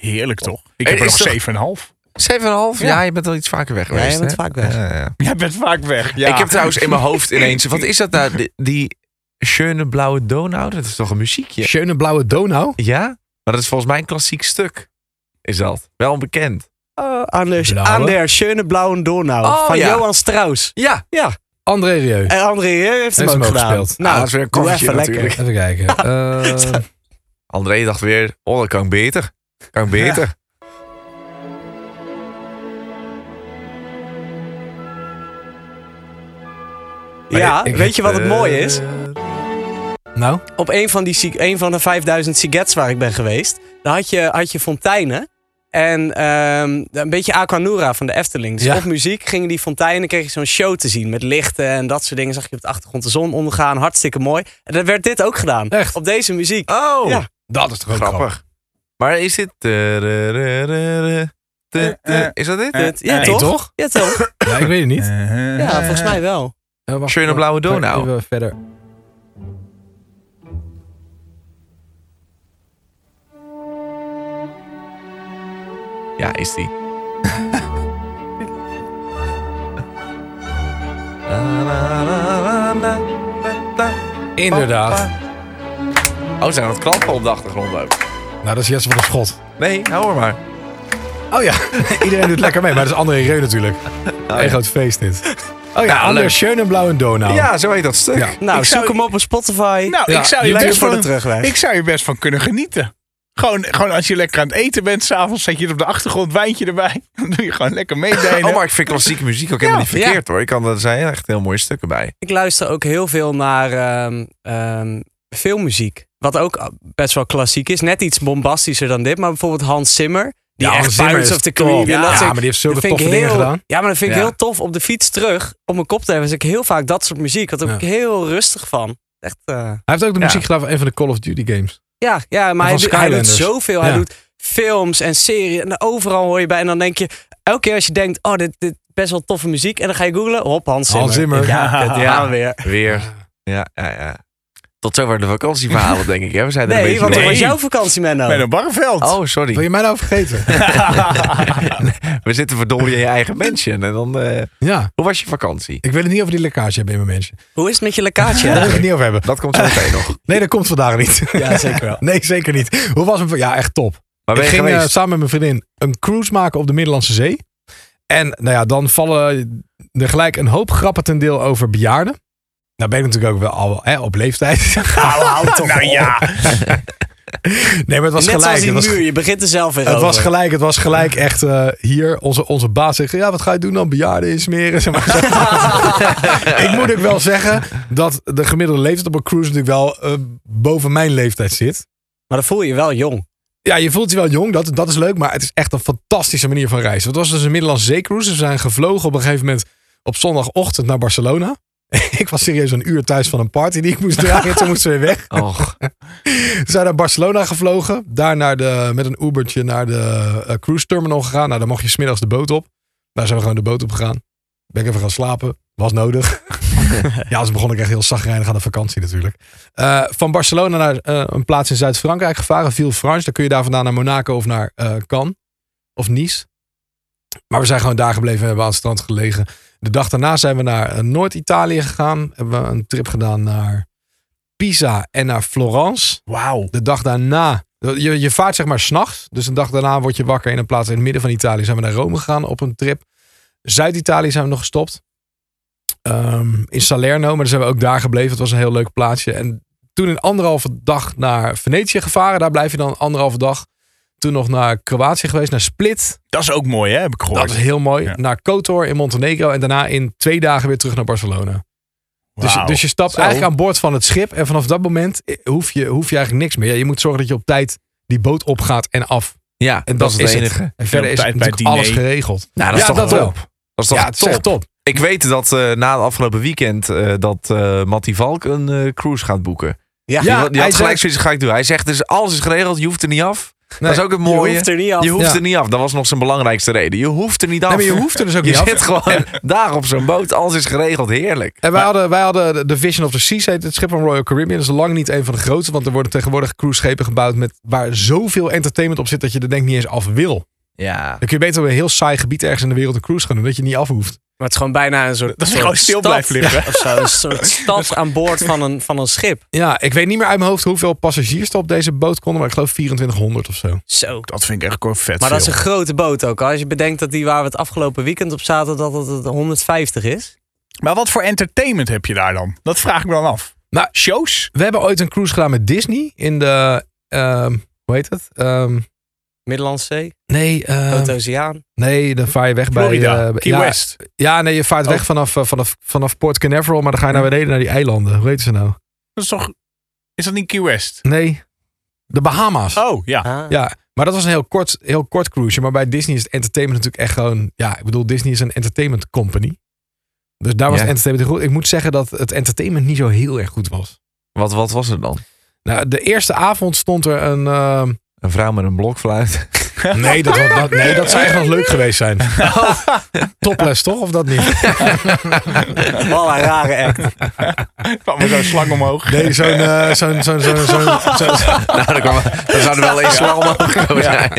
Heerlijk toch? Ik heb Is er nog toch- 7,5. 7,5? Ja. je bent al iets vaker weg Ja, geweest, je bent hè? vaak weg. Ja, ja. Jij bent vaak weg. Ja. Ik heb trouwens in mijn hoofd [LAUGHS] ineens... Wat is dat nou? Die, die Schöne Blauwe Donau? Dat is toch een muziekje? Schöne blauwe Donau. Ja? Maar dat is volgens mij een klassiek stuk. Is dat? Wel bekend. Oh, aan, de, Blauwe. aan der schöne blauwe Donau. Oh, van ja. Johan Strauss. Ja. Ja. André Rieu. En André Rieu heeft hem Heeft ook hem ook gedaan. gespeeld. Nou, Ah, dat is weer een doe koffertje even lekker. natuurlijk. Even [LAUGHS] kijken. Eh, André dacht weer, oh, dat kan ik beter. Kan ik beter. Ja, ik- weet je wat het mooie is? eh, nou, op een van, die, sig- een van de 5000 sigets waar ik ben geweest, daar had je, had je fonteinen. En ehm, een beetje Aquanura van de Efteling. Dus Ja. op muziek gingen die fonteinen, kreeg je zo'n show te zien met lichten en dat soort dingen. Zag je op de achtergrond de zon ondergaan, hartstikke mooi. En dan werd dit ook gedaan. Echt? Op deze muziek. Oh, Ja. dat is toch ook grappig. grappig. Maar is dit... eh, Is dat dit? Eh, Dit- ja, eh, toch? toch? Ja, toch? Ja, ik weet het niet. Eh, Ja, volgens mij wel. Eh, wacht, Schöne wacht, blauwe wacht, Donau. Even verder. Ja, is die. Inderdaad. Oh, zijn dat klappen op de achtergrond ook? Nou, dat is Jesse van de Schot. Nee, nou hoor maar. Oh ja, [LAUGHS] iedereen doet lekker mee. Maar dat is André Rieu natuurlijk. Een groot feest dit. Oh ja, André Ah, leuk. Schöne blauwe Donau. Ja, zo heet dat stuk. Ja. Nou, Ik zoek zou- hem op op Spotify. Nou, Ja, ik, zou je lekker best voor van, de terugweg. ik zou je best van kunnen genieten. Gewoon, gewoon als je lekker aan het eten bent, s'avonds zet je het op de achtergrond, wijntje erbij. [LAUGHS] Dan doe je gewoon lekker meedelen. Oh, maar ik vind klassieke muziek ook helemaal niet verkeerd hoor. Ik kan, er zijn echt heel mooie stukken bij. Ik luister ook heel veel naar ehm, ehm, filmmuziek. Wat ook best wel klassiek is. Net iets bombastischer dan dit. Maar bijvoorbeeld Hans Zimmer. Die Ja, echt Hans Zimmer Pirates is of the top. Caribbean. Ja, dat maar is- die heeft zulke dat vind ik toffe dingen heel- gedaan. Ja, maar dat vind ik Ja. heel tof. Op de fiets terug, om mijn kop te hebben, is ik heel vaak dat soort muziek. Daar word ik heel rustig van. Echt, eh, Hij heeft ook de Ja. muziek gedaan van een van de Call of Duty games. ja, ja, maar van hij, doet- hij doet Skylanders. zoveel. Hij Ja. doet films en series. En overal hoor je bij. En dan denk je, elke keer als je denkt, oh, dit, dit is best wel toffe muziek. En dan ga je googlen, hop, Hans Zimmer. Hans Zimmer. Ja, dit gaan we weer. Ah, Weer. Ja, ja, ja. Tot zover de vakantieverhalen, denk ik. Hè? We zijn er Nee, een want beetje hoe was Nee. jouw vakantie, Menno? Bij een barveld. Oh, [LAUGHS] sorry. Wil je mij nou vergeten? We zitten verdorie in je eigen mansion. En dan, eh, ja. hoe was je vakantie? Ik wil het niet over die lekkage hebben in mijn mensen. Hoe is het met je [LAUGHS] Daar wil lekkaatje? ik het niet over hebben. Dat komt zo meteen nog. Nee, dat komt vandaag niet. ja, zeker wel. [LAUGHS] Nee, zeker niet. Hoe was het? Ja, echt top. Maar [LAUGHS] ben ik je ging eh, geweest? samen met mijn vriendin een cruise maken op de Middellandse Zee. En nou ja, dan vallen er gelijk een hoop grappen ten deel over bejaarden. Nou ben ik natuurlijk ook wel al hè, op [LAUGHS] leeftijd. Hou, hou toch nou op. ja. nee, maar het was Net gelijk. zoals die het was, muur, je begint er zelf weer het over. was gelijk, het was gelijk echt eh, hier. Onze, onze baas zegt, ja, wat ga je doen dan? Bejaarden insmeren? [LAUGHS] Zeg maar. [LAUGHS] ik moet ook wel zeggen dat de gemiddelde leeftijd op een cruise natuurlijk wel eh, boven mijn leeftijd zit. Maar dan voel je je wel jong. Ja, je voelt je wel jong, dat, dat is leuk, maar het is echt een fantastische manier van reizen. Het was dus een Middellandse zeecruise. We zijn gevlogen op een gegeven moment op zondagochtend naar Barcelona. [LAUGHS] ik was serieus een uur thuis van een party die ik moest draaien. Toen moesten we weer weg. Och, We zijn naar Barcelona gevlogen. Daar naar de, met een Ubertje naar de eh, cruise terminal gegaan. Nou, dan mocht je smiddags de boot op. Daar zijn we gewoon de boot op gegaan. Ben ik even gaan slapen. Was nodig. ja, dus begon ik echt heel zagrijnig aan de vakantie natuurlijk. Eh, van Barcelona naar eh, een plaats in Zuid-Frankrijk gevaren. Villefranche. Dan kun je daar vandaan naar Monaco of naar eh, Cannes. Of Nice. Maar we zijn gewoon daar gebleven en hebben aan het strand gelegen. De dag daarna zijn we naar eh, Noord-Italië gegaan. Hebben we een trip gedaan naar Pisa en naar Florence Wauw. de dag daarna. Je, je vaart zeg maar s'nachts. Dus een dag daarna word je wakker in een plaats in het midden van Italië. Zijn we naar Rome gegaan op een trip. Zuid-Italië zijn we nog gestopt. Ehm, in Salerno, maar dan zijn we ook daar gebleven. Het was een heel leuk plaatsje. En toen een anderhalve dag naar Venetië gevaren. Daar blijf je dan anderhalve dag. Toen nog naar Kroatië geweest, naar Split. Dat is ook mooi, hè, heb ik gehoord. Dat is heel mooi. Ja. Naar Kotor in Montenegro. En daarna in twee dagen weer terug naar Barcelona. Dus, Wauw. dus je stapt Zo. eigenlijk aan boord van het schip. En vanaf dat moment eh, hoef je, hoef je eigenlijk niks meer. Ja, je moet zorgen dat je op tijd die boot opgaat en af. Ja, en dat, is het enige. En verder op is tijd bij natuurlijk diner. alles geregeld. Nou, ja, dat wel. Dat is toch Ja, het is top. echt top. Ik weet dat eh, na het afgelopen weekend eh, dat eh Matty Valk een eh, cruise gaat boeken. Ja, die, Ja, had- die hij had gelijk zegt- zoiets, ga ik doen. Hij zegt dus alles is geregeld, je hoeft er niet af. dat is ook het je mooie. hoeft er niet af. Je hoeft Ja. er niet af. Dat was nog zijn belangrijkste reden. Je hoeft er niet af. Nee, maar je hoeft er dus ook [LAUGHS] Je niet zit af. gewoon daar op zo'n boot. Alles is geregeld. Heerlijk. En wij hadden, wij hadden de- de Vision of the Seas, heet het schip van Royal Caribbean. Dat is lang niet een van de grootste, want er worden tegenwoordig cruiseschepen gebouwd met, waar zoveel entertainment op zit dat je er denk ik niet eens af wil. Ja. Dan kun je beter op een heel saai gebied ergens in de wereld een cruise gaan doen, dat je niet af hoeft. Maar het is gewoon bijna een soort. Dat je soort gewoon stil stad blijft [LAUGHS] liggen. Of zo, een soort stad aan boord van een, van een schip. Ja, ik weet niet meer uit mijn hoofd hoeveel passagiers er op deze boot konden, maar ik geloof 2400 of zo. Zo. Dat vind ik echt gewoon vet Maar dat is een veel. grote boot ook. Als je bedenkt dat die waar we het afgelopen weekend op zaten, dat het het 150 is. Maar wat voor entertainment heb je daar dan? Dat vraag ik me dan af. Nou- Shows? We hebben ooit een cruise gedaan met Disney in de, ehm, hoe heet het? Ehm, Middellandszee, nee, ehm, Grote Oceaan. nee, dan vaar je weg bij... Florida, eh, Key ja, West. Ja, nee, je vaart Oh. weg vanaf, eh, vanaf, vanaf Port Canaveral, maar dan ga je naar beneden naar die eilanden. Hoe heet ze nou? Dat is toch... Is dat niet Key West? Nee, de Bahama's. Oh, [LAUGHS] ja. Ah. Ja, maar dat was een heel kort, heel kort cruise. Maar bij Disney is het entertainment natuurlijk echt gewoon... Ja, ik bedoel, Disney is een entertainment company. Dus daar was Ja. het entertainment heel goed. Ik moet zeggen dat het entertainment niet zo heel erg goed was. Wat, wat was het dan? Nou, de eerste avond stond er een... ehm, Een vrouw met een blokfluit. nee, dat, was- dat, nee, dat zou echt nog leuk geweest [LAUGHS] zijn. Topless, toch? Of dat niet? Wel een rare act. Kwam er zo'n slang omhoog. Nee, zo'n... eh, zo'n zo'n zo'n zo'n- zo'n- [LAUGHS] nou, dan, kwam, dan zou er wel eens wel omhoog komen. Ja. [LAUGHS]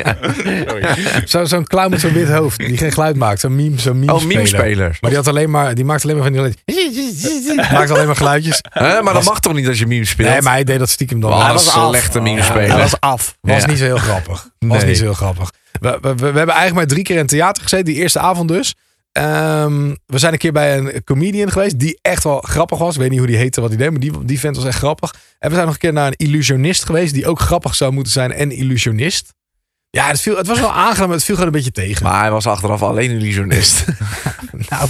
Sorry. Nou, Zo'n zo'n clown met zo'n wit hoofd die geen geluid maakt. Zo'n meme, zo'n meme Oh, meme-speler. Maar die, had alleen maar, die maakte alleen maar van die Maakt alleen maar geluidjes. Hè, maar dat mag toch niet als je meme speelt? Oh, Nee, maar hij deed dat stiekem dan. Wel, wel. hij was, was af. slechte meme-speler. Hij was af. Ja. niet zo heel grappig. Was Nee. niet zo heel grappig. We, we, we- we hebben eigenlijk maar drie keer in het theater gezeten. Die eerste avond dus. Ehm, we zijn een keer bij een comedian geweest die echt wel grappig was. Ik weet niet hoe die heette, wat hij deed, maar die, die vent was echt grappig. En we zijn nog een keer naar een illusionist geweest die ook grappig zou moeten zijn en illusionist. Ja, het, viel, het was wel aangenaam, maar het viel gewoon een beetje tegen. Maar hij was achteraf alleen [LAUGHS] illusionist. Nou,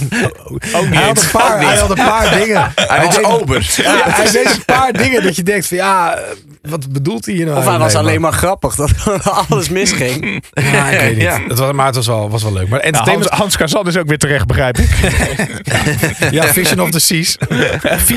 Ook niet hij, had een eens. paar, hij had een paar dingen. hij was deed- ober. Ja, hij deed een paar dingen dat je denkt van ja, eh, wat bedoelt hij hier nou? Of hij was mee, alleen maar grappig dat [LAUGHS] alles misging. man? Ja, ik weet niet. Ja. Het was, maar het was wel, was wel leuk. Maar Nou, Hans, entertainment, Hans Kazan is ook weer terecht, begrijp ik. ja, Vision of the [LAUGHS] Seas.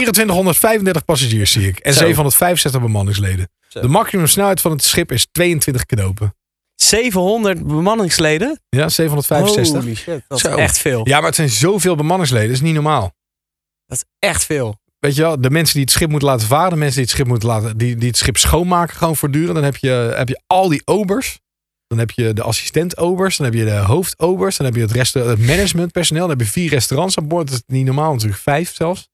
2435 passagiers zie ik. En Zo. 765 bemanningsleden. Zo. De maximum snelheid van het schip is 22 knopen. 700 bemanningsleden? Ja, 765. Holy shit, dat Zo. is echt veel. Ja, maar het zijn zoveel bemanningsleden. Dat is niet normaal. Dat is echt veel. Weet je wel, de mensen die het schip moeten laten varen, de mensen die het schip moeten laten, die, die het schip schoonmaken, gewoon voortdurend. Dan heb je, heb je al die obers. Dan heb je de assistent-obers, dan heb je de hoofdobers, dan heb je het, rest, het managementpersoneel. Dan heb je vier restaurants aan boord. Dat is niet normaal natuurlijk, vijf zelfs.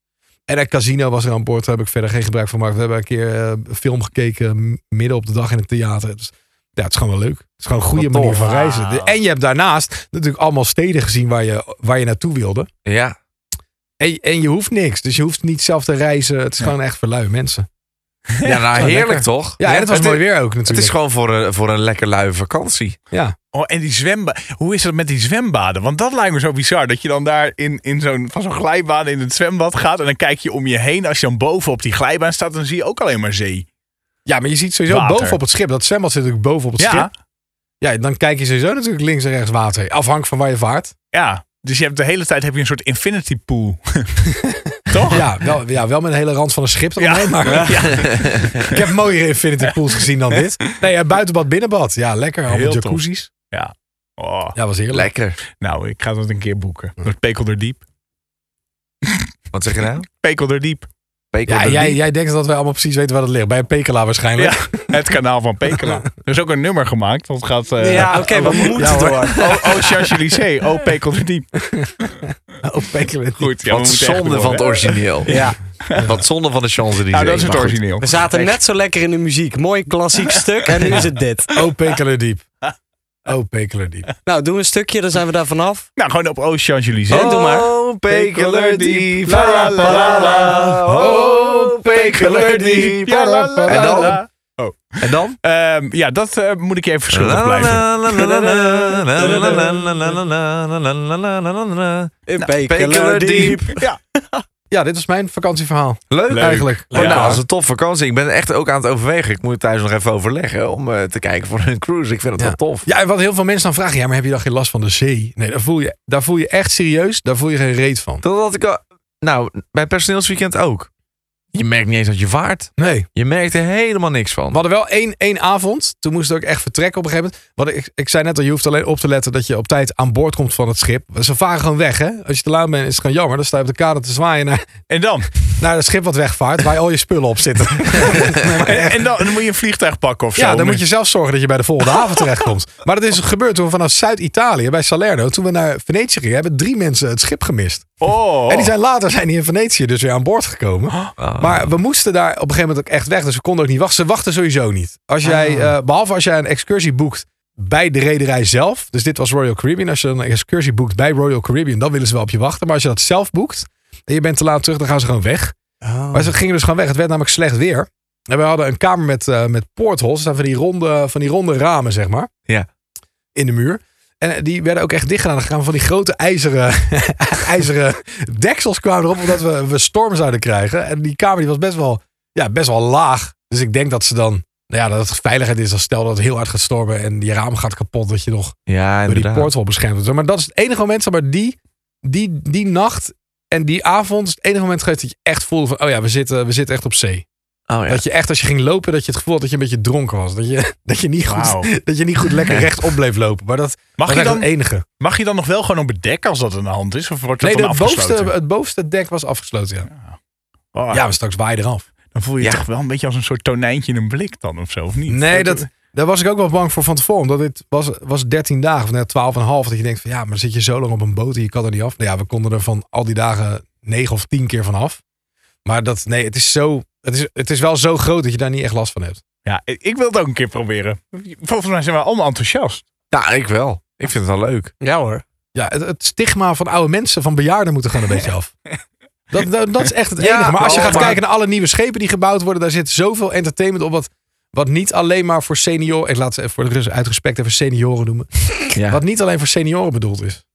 En een casino was er aan boord, daar heb ik verder geen gebruik van gemaakt. We hebben een keer eh, een film gekeken, m- midden op de dag in het theater. Dus, ja, het is gewoon wel leuk. Het is gewoon een goede Wat tof. manier van reizen. Wauw. En je hebt daarnaast natuurlijk allemaal steden gezien waar je, waar je naartoe wilde. Ja. En, en je hoeft niks. Dus je hoeft niet zelf te reizen. Het is gewoon echt voor lui mensen. ja, nou heerlijk lekker. toch? Ja, en het was het, mooi weer ook natuurlijk. Het is gewoon voor een, voor een lekker luie vakantie. ja. Oh, en die zwembaden. Hoe is dat met die zwembaden? Want dat lijkt me zo bizar. Dat je dan daar in, in zo'n, van zo'n glijbaan in het zwembad gaat. En dan kijk je om je heen. Als je dan boven op die glijbaan staat, dan zie je ook alleen maar zee. ja, maar je ziet sowieso Water. boven op het schip. Dat zwembad zit natuurlijk boven op het Ja, schip. Ja, dan kijk je sowieso natuurlijk links en rechts water. Afhankelijk van waar je vaart. ja. Dus je hebt de hele tijd heb je een soort infinity pool. [LAUGHS] Toch? Ja, wel, ja, wel met een hele rand van een schip eromheen. Ja. Maar ik heb mooiere infinity pools gezien dan dit. Nee, ja, buitenbad, binnenbad. Ja, lekker. Allemaal Heel tof. jacuzzis. Oh, Ja, was heerlijk. Lekker. nou, ik ga dat een keer boeken. Dat pekel er diep. Wat zeg je nou? Pekel er diep. Pekel Ja, de jij, Diep. jij denkt dat wij allemaal precies weten waar dat ligt. Bij een pekela waarschijnlijk. Ja, [LAUGHS] het kanaal van Pekela. Er is ook een nummer gemaakt. Want het gaat. eh, ja, oké, we moeten door. [LAUGHS] Oh, oh, Champs-Élysées. Oh, Pekel er diep. Op pekela. Goed. Ja, we Wat moeten echt zonde door, van het hè? origineel. Ja, Wat zonde van de chance die Nou, dat is het origineel. we zaten net zo lekker in de muziek. Mooi [LAUGHS] klassiek stuk en nu is het dit. Oh, pekela diep. Oh, pekela diep. Nou, doe een stukje, dan zijn we daar vanaf. Nou, gewoon op Oost Champs-Élysées. Oh, doe maar. Oh, pekelerdiep. La, la, la, la, la. Oh, pekelerdiep. Pekelerdiep. Ja, la, la, En dan? la, la. En dan? Ehm, ja, dat eh, moet ik je even La, verschuldigd la, blijven. la, la, la, la, la, Nou, la, la, la, la, la, la, la, la, la, la, la, la. In Pekeler diep. Ja. ja, dit was mijn vakantieverhaal. Leuk. Eigenlijk. Oh, Ja. nou, dat is een tof vakantie. Ik ben echt ook aan het overwegen. Ik moet thuis nog even overleggen om eh, te kijken voor een cruise. Ik vind het Ja. wel tof. Ja, en wat heel veel mensen dan vragen, ja, maar heb je dan geen last van de zee? Nee, daar voel je, daar voel je echt serieus, daar voel je geen reet van. Dat had ik al... Nou, bij het personeelsweekend ook. Je merkt niet eens dat je vaart. Nee. Je merkt er helemaal niks van. We hadden wel één, één avond, toen moest ik ook echt vertrekken op een gegeven moment. Want ik, ik zei net al, je hoeft alleen op te letten dat je op tijd aan boord komt van het schip. Ze varen gewoon weg, hè. Als je te laat bent, is het gewoon jammer. Dan sta je op de kade te zwaaien naar, En dan? naar het schip wat wegvaart, waar al je spullen op zitten. En, en dan, dan moet je een vliegtuig pakken of zo. Ja, dan moet je zelf zorgen dat je bij de volgende haven terechtkomt. Maar dat is gebeurd toen we vanaf Zuid-Italië, bij Salerno, toen we naar Venetië gingen, hebben drie mensen het schip gemist. Oh. En die zijn later zijn die in Venetië dus weer aan boord gekomen. Ah. Maar we moesten daar op een gegeven moment ook echt weg. Dus we konden ook niet wachten. Ze wachten sowieso niet. Als jij, eh, behalve als jij een excursie boekt bij de rederij zelf. Dus dit was Royal Caribbean. Als je dan een excursie boekt bij Royal Caribbean, dan willen ze wel op je wachten. Maar als je dat zelf boekt en je bent te laat terug, dan gaan ze gewoon weg. Oh, Maar ze gingen dus gewoon weg. Het werd namelijk slecht weer. En we hadden een kamer met, eh met portholes. Dat zijn van die, ronde, van die ronde ramen, zeg maar. Ja. In de muur. En eh, die werden ook echt dicht gedaan. Dan gaan we van die grote ijzeren, [LAUGHS] ijzeren deksels kwamen erop. Omdat we, we storm zouden krijgen. En die kamer die was best wel, ja, best wel laag. Dus ik denk dat ze dan... Nou ja, dat het veiligheid is. Als stel dat het heel hard gaat stormen en die raam gaat kapot. Dat je nog Ja, door die inderdaad. portal beschermd wordt. Maar dat is het enige moment, zeg maar die, die, die nacht en die avond is het enige moment geweest dat je echt voelde van, oh ja, we zitten, we zitten echt op zee. Oh, ja. Dat je echt, als je ging lopen, dat je het gevoel had dat je een beetje dronken was. Dat je, [LAUGHS] dat je, niet, goed, Wauw. [LAUGHS] dat je niet goed lekker rechtop bleef lopen. Maar dat Mag was je, echt het dan, enige. mag je dan nog wel gewoon op het dek als dat aan de hand is? Of wordt dat Nee, dan het bovenste, afgesloten? het bovenste dek was afgesloten, ja. Oh, Ja, maar straks waai je eraf. Dan voel je Ja. je toch wel een beetje als een soort tonijntje in een blik dan of zo, of niet? Nee, dat, daar was ik ook wel bang voor van tevoren. Omdat dit was, was 13 dagen, of net 12 en een half. Dat je denkt van, ja, maar zit je zo lang op een boot en je kan er niet af. Nou ja, we konden er van al die dagen 9 of 10 keer van af. Maar dat, nee, het is zo... Het is, het is wel zo groot dat je daar niet echt last van hebt. Ja, ik ik wil het ook een keer proberen. Volgens mij zijn we allemaal enthousiast. Nou, ik wel. Ik vind het wel leuk. Ja hoor. Ja, het, het stigma van oude mensen, van bejaarden, moet er gewoon een beetje [LAUGHS] af. Dat, dat, dat is echt het Ja, enige. maar als je maar- gaat kijken naar alle nieuwe schepen die gebouwd worden, daar zit zoveel entertainment op. Wat, wat niet alleen maar voor senioren. Ik laat ze even voor de rest uit respect even senioren noemen. Ja. Wat niet alleen voor senioren bedoeld is.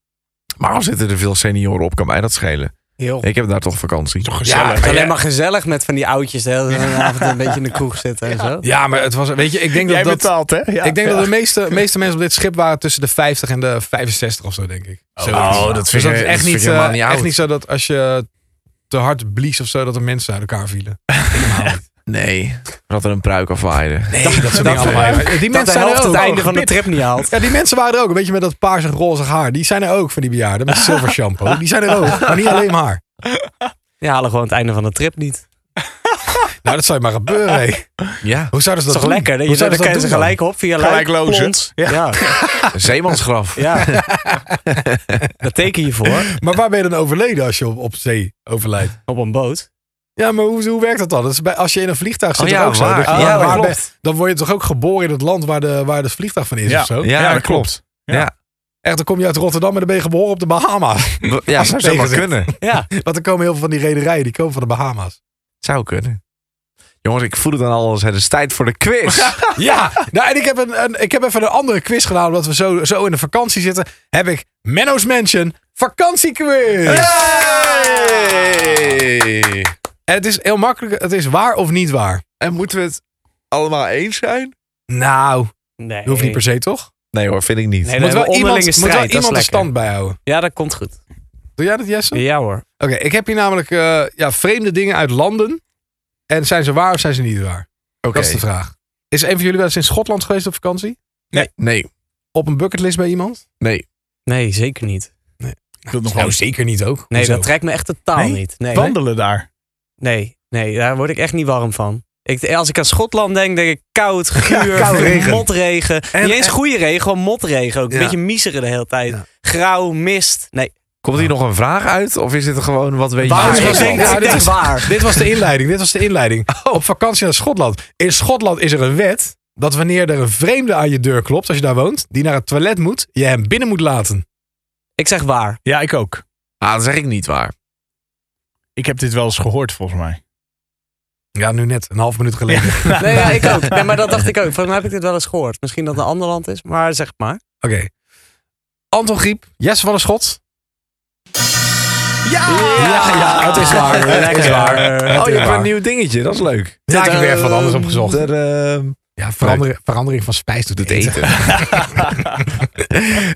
Maar al zitten er veel senioren op, kan mij dat schelen. Heel. Ik heb daar toch vakantie. Ja, Toch gezellig. het is alleen maar gezellig met van die oudjes de hele avond een beetje in de kroeg zitten en zo. Ja, maar het was, weet je, ik denk Jij dat, dat, betaalt, hè? Ja. ik denk Ja. dat de meeste, meeste mensen op dit schip waren tussen de 50 en de 65 of zo, denk ik. Zo. oh, dat Dus vind dat ik- is dat echt, vind ik niet, helemaal eh, niet echt oud. niet zo dat als je te hard blies of zo, dat er mensen uit elkaar vielen. Nee. Dat er een pruik afwaaide. Nee, dat soort dingen allemaal. Die Dat mensen de zijn helft er het ook. einde van de trip niet haalt. Ja, die mensen waren er ook. Een beetje met dat paars en roze haar. Die zijn er ook van die bejaarden. Met zilver shampoo. Die zijn er [LAUGHS] ook. Maar niet alleen maar. Die halen gewoon het einde van de trip niet. Nou, dat zou je maar gebeuren. hé. [LAUGHS] Ja. Hoe zouden ze Dat dat is toch doen? lekker? hè? Hoe Je zou zouden dan kunnen ze dat doen gelijk op via Gelijk Luik, lozen. Plons. [LAUGHS] Ja. Een zeemansgraf. Ja. Daar teken je voor. dan? Maar waar ben je dan overleden als je op, op zee overlijdt? Op een boot. Ja, maar hoe, hoe werkt dat dan? Dat is bij, als je in een vliegtuig zit, Oh is ja, ook zo. waar. Dat je- Ja, dat waar klopt. ben- dan word je toch ook geboren in het land waar, de, waar het vliegtuig van is Ja. of zo? Ja, Ja, dat klopt. Echt, dan kom je uit Rotterdam en dan ben je geboren op de Bahama's. [LAUGHS] Ja, Tegen zou zomaar zit. kunnen. Ja. Want er komen heel veel van die rederijen, die komen van de Bahama's. Zou kunnen. Jongens, ik voel het dan al als het is tijd voor de [LAUGHS] quiz. Ja, nou en ik heb, een, een- ik heb even een andere quiz gedaan, omdat we zo, zo in de vakantie zitten. Heb ik Menno's Mansion vakantiequiz. Hey! En het is heel makkelijk, het is waar of niet waar. En moeten we het allemaal eens zijn? Nou, Nee. dat hoeft niet per se, toch? Nee hoor, vind ik niet. Nee, Er moet dan hebben we wel onderlinge iemand, moet wel strijd, dat is iemand de lekker. stand bijhouden. Ja, dat komt goed. Doe jij dat, Jesse? Ja hoor. Oké, ik heb hier namelijk eh, ja, vreemde dingen uit landen. En zijn ze waar of zijn ze niet waar? Oké. Dat is de vraag. Is een van jullie wel eens in Schotland geweest op vakantie? Nee, Op een bucketlist bij iemand? nee. Nee, zeker niet. Ik wil nog wel Nou, zeker niet ook. Nee, Hoezo? dat trekt me echt totaal Nee? niet. Nee, nee, wandelen daar. nee, nee, daar word ik echt niet warm van. Ik, als ik aan Schotland denk, denk ik koud, [LAUGHS] guur, koud regen. motregen. niet eens goede regen, gewoon motregen ook. Een Ja. beetje miezeren de hele tijd. Ja. Grauw, mist. Nee, Komt hier nog een vraag uit? Of is dit gewoon wat weet je? Waar van is ik Schotland? Nederland? denk, Ja, dit ik denk is- waar. Dit was de inleiding. Dit was de inleiding. Op vakantie naar Schotland. In Schotland is er een wet dat wanneer er een vreemde aan je deur klopt, als je daar woont, die naar het toilet moet, je hem binnen moet laten. Ik zeg waar. Ja, ik ook. Ah, dat zeg ik niet waar. Ik heb dit wel eens gehoord, volgens mij. Ja, nu net, een half minuut geleden. [LAUGHS] Nee, ja, ik ook. Nee, maar dat dacht ik ook. Volgens mij heb ik dit wel eens gehoord. Misschien dat het een ander land is, maar zeg maar. Oké. Anton Griep, Jesse van der Schot. Ja! Ja, ja, het is [LAUGHS] waar. Het is waar. Het Oh, je is hebt waar. een nieuw dingetje. Dat is leuk. Ja, ik heb weer wat anders Ehm, opgezocht. er, ehm, Ja, verandering, verandering van spijs doet doet het eten. [LAUGHS] eten.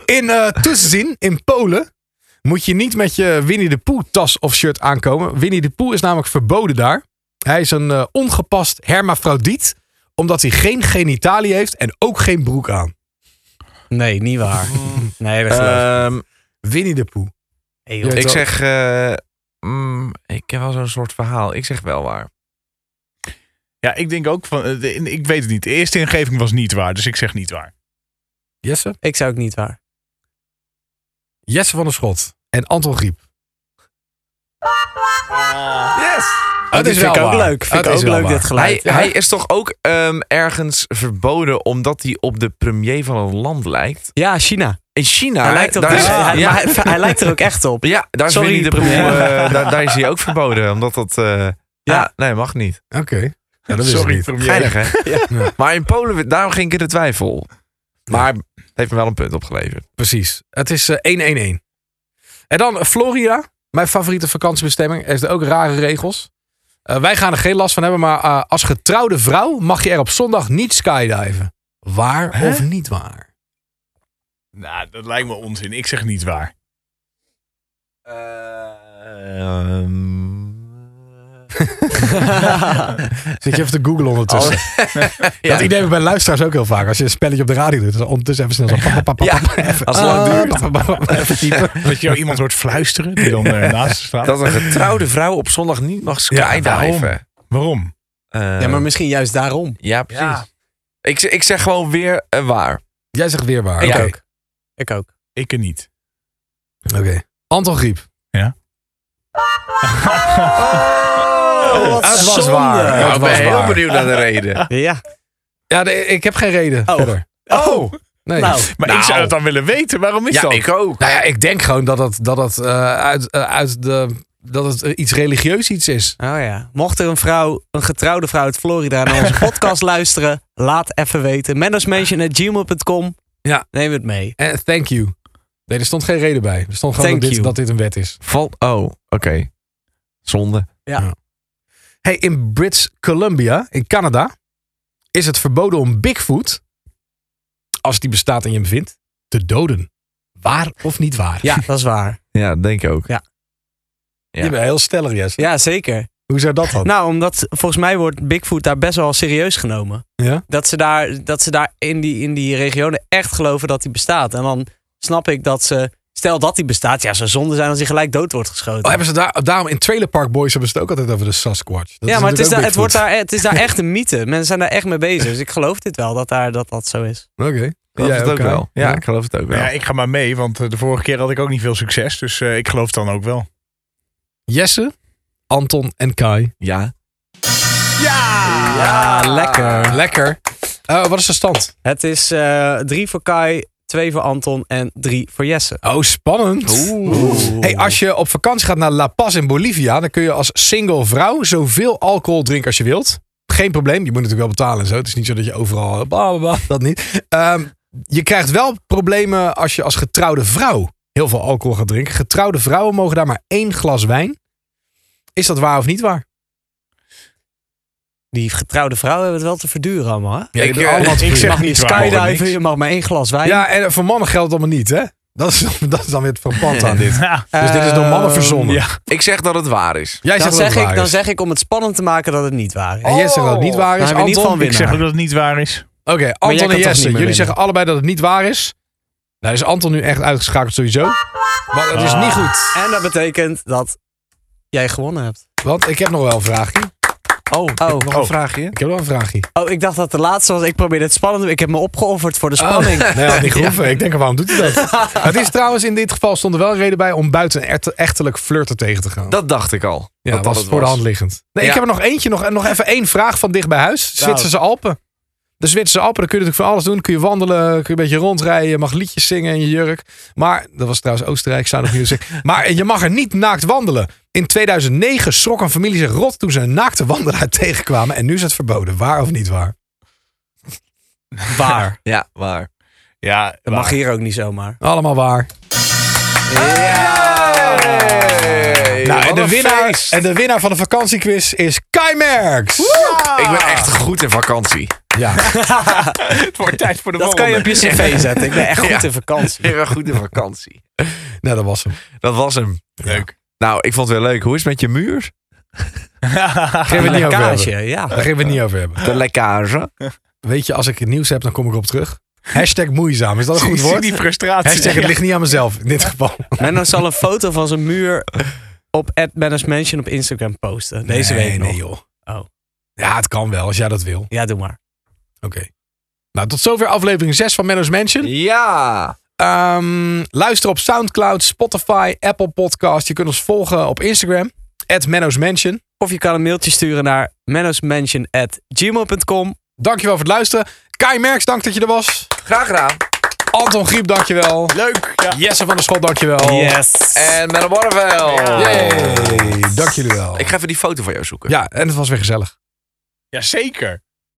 In eh Tuszin, in Polen, moet je niet met je Winnie de Pooh tas of shirt aankomen. Winnie de Pooh is namelijk verboden daar. Hij is een eh, ongepast hermafrodiet, omdat hij geen genitalie heeft en ook geen broek aan. Nee, niet [LAUGHS] waar. Nee, dat geloof ik. Ehm, Winnie de Pooh. Hey, je joh. weet ik wel. zeg, eh, mm, ik heb wel zo'n soort verhaal. Ik zeg wel waar. Ja, ik denk ook van. eh, de- Ik weet het niet. De eerste ingeving was niet waar, dus ik zeg niet waar. Jesse? Ik zou ook niet waar. Jesse van der Schot en Anton Griep. Yes! Het Oh, dit is vind wel ik ook waar. leuk. Vind Het ik is ook wel leuk, waar. dit Hij, geluid. hij is toch ook ehm, ergens verboden omdat hij op de premier van een land lijkt? Ja, China. In China. Hij hè? lijkt op daar die- is, hij- ja, maar hij- [LAUGHS] Hij lijkt er ook echt op. ja, daar is Sorry, Winnie de Pooh, premier. eh, daar, daar is hij ook verboden. Omdat dat... eh, ja. Ja. nee, mag niet. Oké. Nou, dat wist ik Sorry, niet. premier. Geinig, hè? [LAUGHS] Ja. Maar in Polen, daarom ging ik in de twijfel. Maar het heeft me wel een punt opgeleverd. Precies. Het is eh, 1-1-1. En dan Florida. Mijn favoriete vakantiebestemming. Er zijn ook rare regels. Eh, wij gaan er geen last van hebben, maar eh, als getrouwde vrouw mag je er op zondag niet skydiven. Waar of niet waar? Nou, dat lijkt me onzin. Ik zeg niet waar. Ehm. Zit je even te googlen ondertussen? Dat idee hebben bij luisteraars ook heel vaak. Als je een spelletje op de radio doet, dan ondertussen even snel zo. pap, pap, pap, Ja, pap, even- als het lang Ah, duurt. pap, pap, pap, Even typen. Dat je iemand hoort fluisteren die dan [LAUGHS] eh, naast je staat. dat een getrouwde vrouw op zondag niet mag skydiven. Waarom? Ja, Ja, maar misschien juist daarom. ja precies. Ik, z- ik zeg gewoon weer eh, waar. Jij zegt weer waar. Ik Oké. ook. Ik ook. Ik er niet. Oké. Anton Griep. Oh, wat het was zonde. waar. Nou, Het ik was ben heel waar. benieuwd naar de [LAUGHS] reden. Ja. Ja, de- ik heb geen reden Oh. verder. Oh, Nee. nou. Maar ik Nou. zou het dan willen weten. Waarom is Ja, dat? ik ook. Nou ja, ik denk gewoon dat het, dat het, eh, uit, eh, uit de, dat het eh, iets religieus iets is. Oh ja. Mocht er een vrouw, een getrouwde vrouw uit Florida naar [LAUGHS] onze podcast luisteren, laat even weten. Mannersmansion.gmail.com. Ja. Neem het mee. En Eh, thank you. Nee, er stond geen reden bij. Er stond gewoon Thank dat dit, you. dat dit een wet is. Valt. Oh, oké. Zonde. Hey, in Brits Columbia, in Canada, is het verboden om Bigfoot, als die bestaat en je hem vindt, te doden. Waar of niet waar? Ja, dat is waar. Ja, denk ik ook. ja. [LAUGHS] Je bent heel stellig, Jess. Ja, zeker. Hoe zou dat dan? Nou, omdat volgens mij wordt Bigfoot daar best wel serieus genomen. Ja? Dat ze daar, dat ze daar in, die, in die regionen echt geloven dat hij bestaat. En dan snap ik dat ze, stel dat hij bestaat, ja, zou zonde zijn als hij gelijk dood wordt geschoten. Oh, hebben ze daar, daarom in Trailer Park Boys hebben ze het ook altijd over de Sasquatch. Dat ja, maar het natuurlijk is, daar, ook het, wordt Bigfoot. daar, het is daar [LAUGHS] echt een mythe. Mensen zijn daar echt mee bezig. Dus ik geloof dit wel dat daar, dat, dat zo is. Oké. Ik geloof Jij het ook hè? wel. Ja, ik geloof het ook wel. Nou Ja, ik ga maar mee, want eh, de vorige keer had ik ook niet veel succes. Dus eh, ik geloof het dan ook wel. Jesse, Anton en Kai. Ja. Ja, lekker. Lekker. Eh, wat is de stand? Het is eh, drie voor Kai, twee voor Anton en drie voor Jesse. Oh, spannend. Hey, als je op vakantie gaat naar La Paz in Bolivia, dan kun je als single vrouw zoveel alcohol drinken als je wilt. Geen probleem, je moet natuurlijk wel betalen en zo. Het is niet zo dat je overal. eh, Bla, bla, bla, dat niet. Ehm, je krijgt wel problemen als je als getrouwde vrouw heel veel alcohol gaat drinken. Getrouwde vrouwen mogen daar maar één glas wijn. Is dat waar of niet waar? Die getrouwde vrouwen hebben het wel te verduren allemaal. Hè? Ja, Ik, eh, te ik veel. zeg Mag niet niet waar, hoor, skydiven, niks. je mag maar één glas wijn. Ja, en voor mannen geldt het allemaal niet, hè? Dat is, [LAUGHS] dat is dan weer het verband aan dit. [LAUGHS] Ja. Dus dit is door mannen Ehm, verzonnen. ja. Ik zeg dat het waar is. Jij Dan zegt dat zeg, het waar ik, dan Oh. is. Oh, zeg ik om het spannend te maken dat het niet waar is. En Jesse zegt dat het niet waar Dan is. hebben we in ieder Anton, geval ik een Ik zeg winnaar. ook dat het niet waar is. Oké, jij kan Anton en toch niet Jesse, meer jullie winnen? zeggen allebei dat het niet waar is. Nou is Anton nu echt uitgeschakeld sowieso. Maar dat is Ah. niet goed. En dat betekent dat jij gewonnen hebt. Want ik heb nog wel een vraagje. Oh, ik heb Oh. nog Oh. een vraagje. Ik heb nog wel een vraagje. Oh, ik dacht dat de laatste was. Ik probeerde het spannend te Ik heb me opgeofferd Oh. voor de spanning. Nee, [LAUGHS] had niet gehoeven. Ik denk, waarom doet hij dat? het is trouwens in dit geval stond er wel een reden bij om buiten echt- echtelijk flirten tegen te gaan. Dat dacht ik al. ja, dat was het voor de hand liggend. Nou. Nee, ik Ja. heb er nog eentje, nog, nog even één vraag van dicht bij huis. Zwitserse Alpen. De Zwitserse Alpen, daar kun je natuurlijk van alles doen. Kun je wandelen, kun je een beetje rondrijden, je mag liedjes zingen in je jurk. Maar, dat was trouwens Oostenrijk, Sound of [LAUGHS] Music. Maar je mag er niet naakt wandelen. In 2009 schrok een familie zich rot toen ze een naakte wandelaar [LAUGHS] tegenkwamen. En nu is het verboden, waar of niet waar? [LAUGHS] Waar. Ja, waar. Ja, Dat mag hier ook niet zomaar. Allemaal waar. Hey! Nou, En de, een winnaar, feest. en de winnaar van de vakantiequiz is Kai Merks. Ik ben echt goed in [LAUGHS] vakantie. Ja. [LAUGHS] Het wordt tijd voor de Dat kan je op je cv zetten. Ik ben echt goed in vakantie. Ik ben goed in vakantie. Nou, dat was hem. Dat was hem. Leuk. Nou, ik vond het wel leuk. Hoe is het met je muur? Daar gaan we het niet over Lekkage, hebben. ja. Daar gaan we het niet over hebben. De lekkage. Weet je, als ik het nieuws heb, dan kom ik op terug. Hashtag moeizaam. Is dat een Zie- goed zie woord? die frustratie. Hashtag het ligt niet aan mezelf in dit geval. Menno zal een foto van zijn muur op @management op Instagram posten. Deze nee, week nog. nee, joh. Oh. Ja, het kan wel, als jij dat wil. Oké. Ja, doe maar. Nou, tot zover aflevering 6 van Menno's Mansion. Ja. Ehm, luister op Soundcloud, Spotify, Apple Podcast. Je kunt ons volgen op Instagram. At Menno's Mansion. Of je kan een mailtje sturen naar mennosmansion.gmail.com. Dankjewel voor het luisteren. Kai Merks, dank dat je er was. Graag gedaan. Anton Griep, dankjewel. Leuk. Ja. Jesse van der Schot, dankjewel. Yes. En Menno Barneveld. Yay, dank jullie wel. Ik ga even die foto van jou zoeken. Ja, en het was weer gezellig. Jazeker.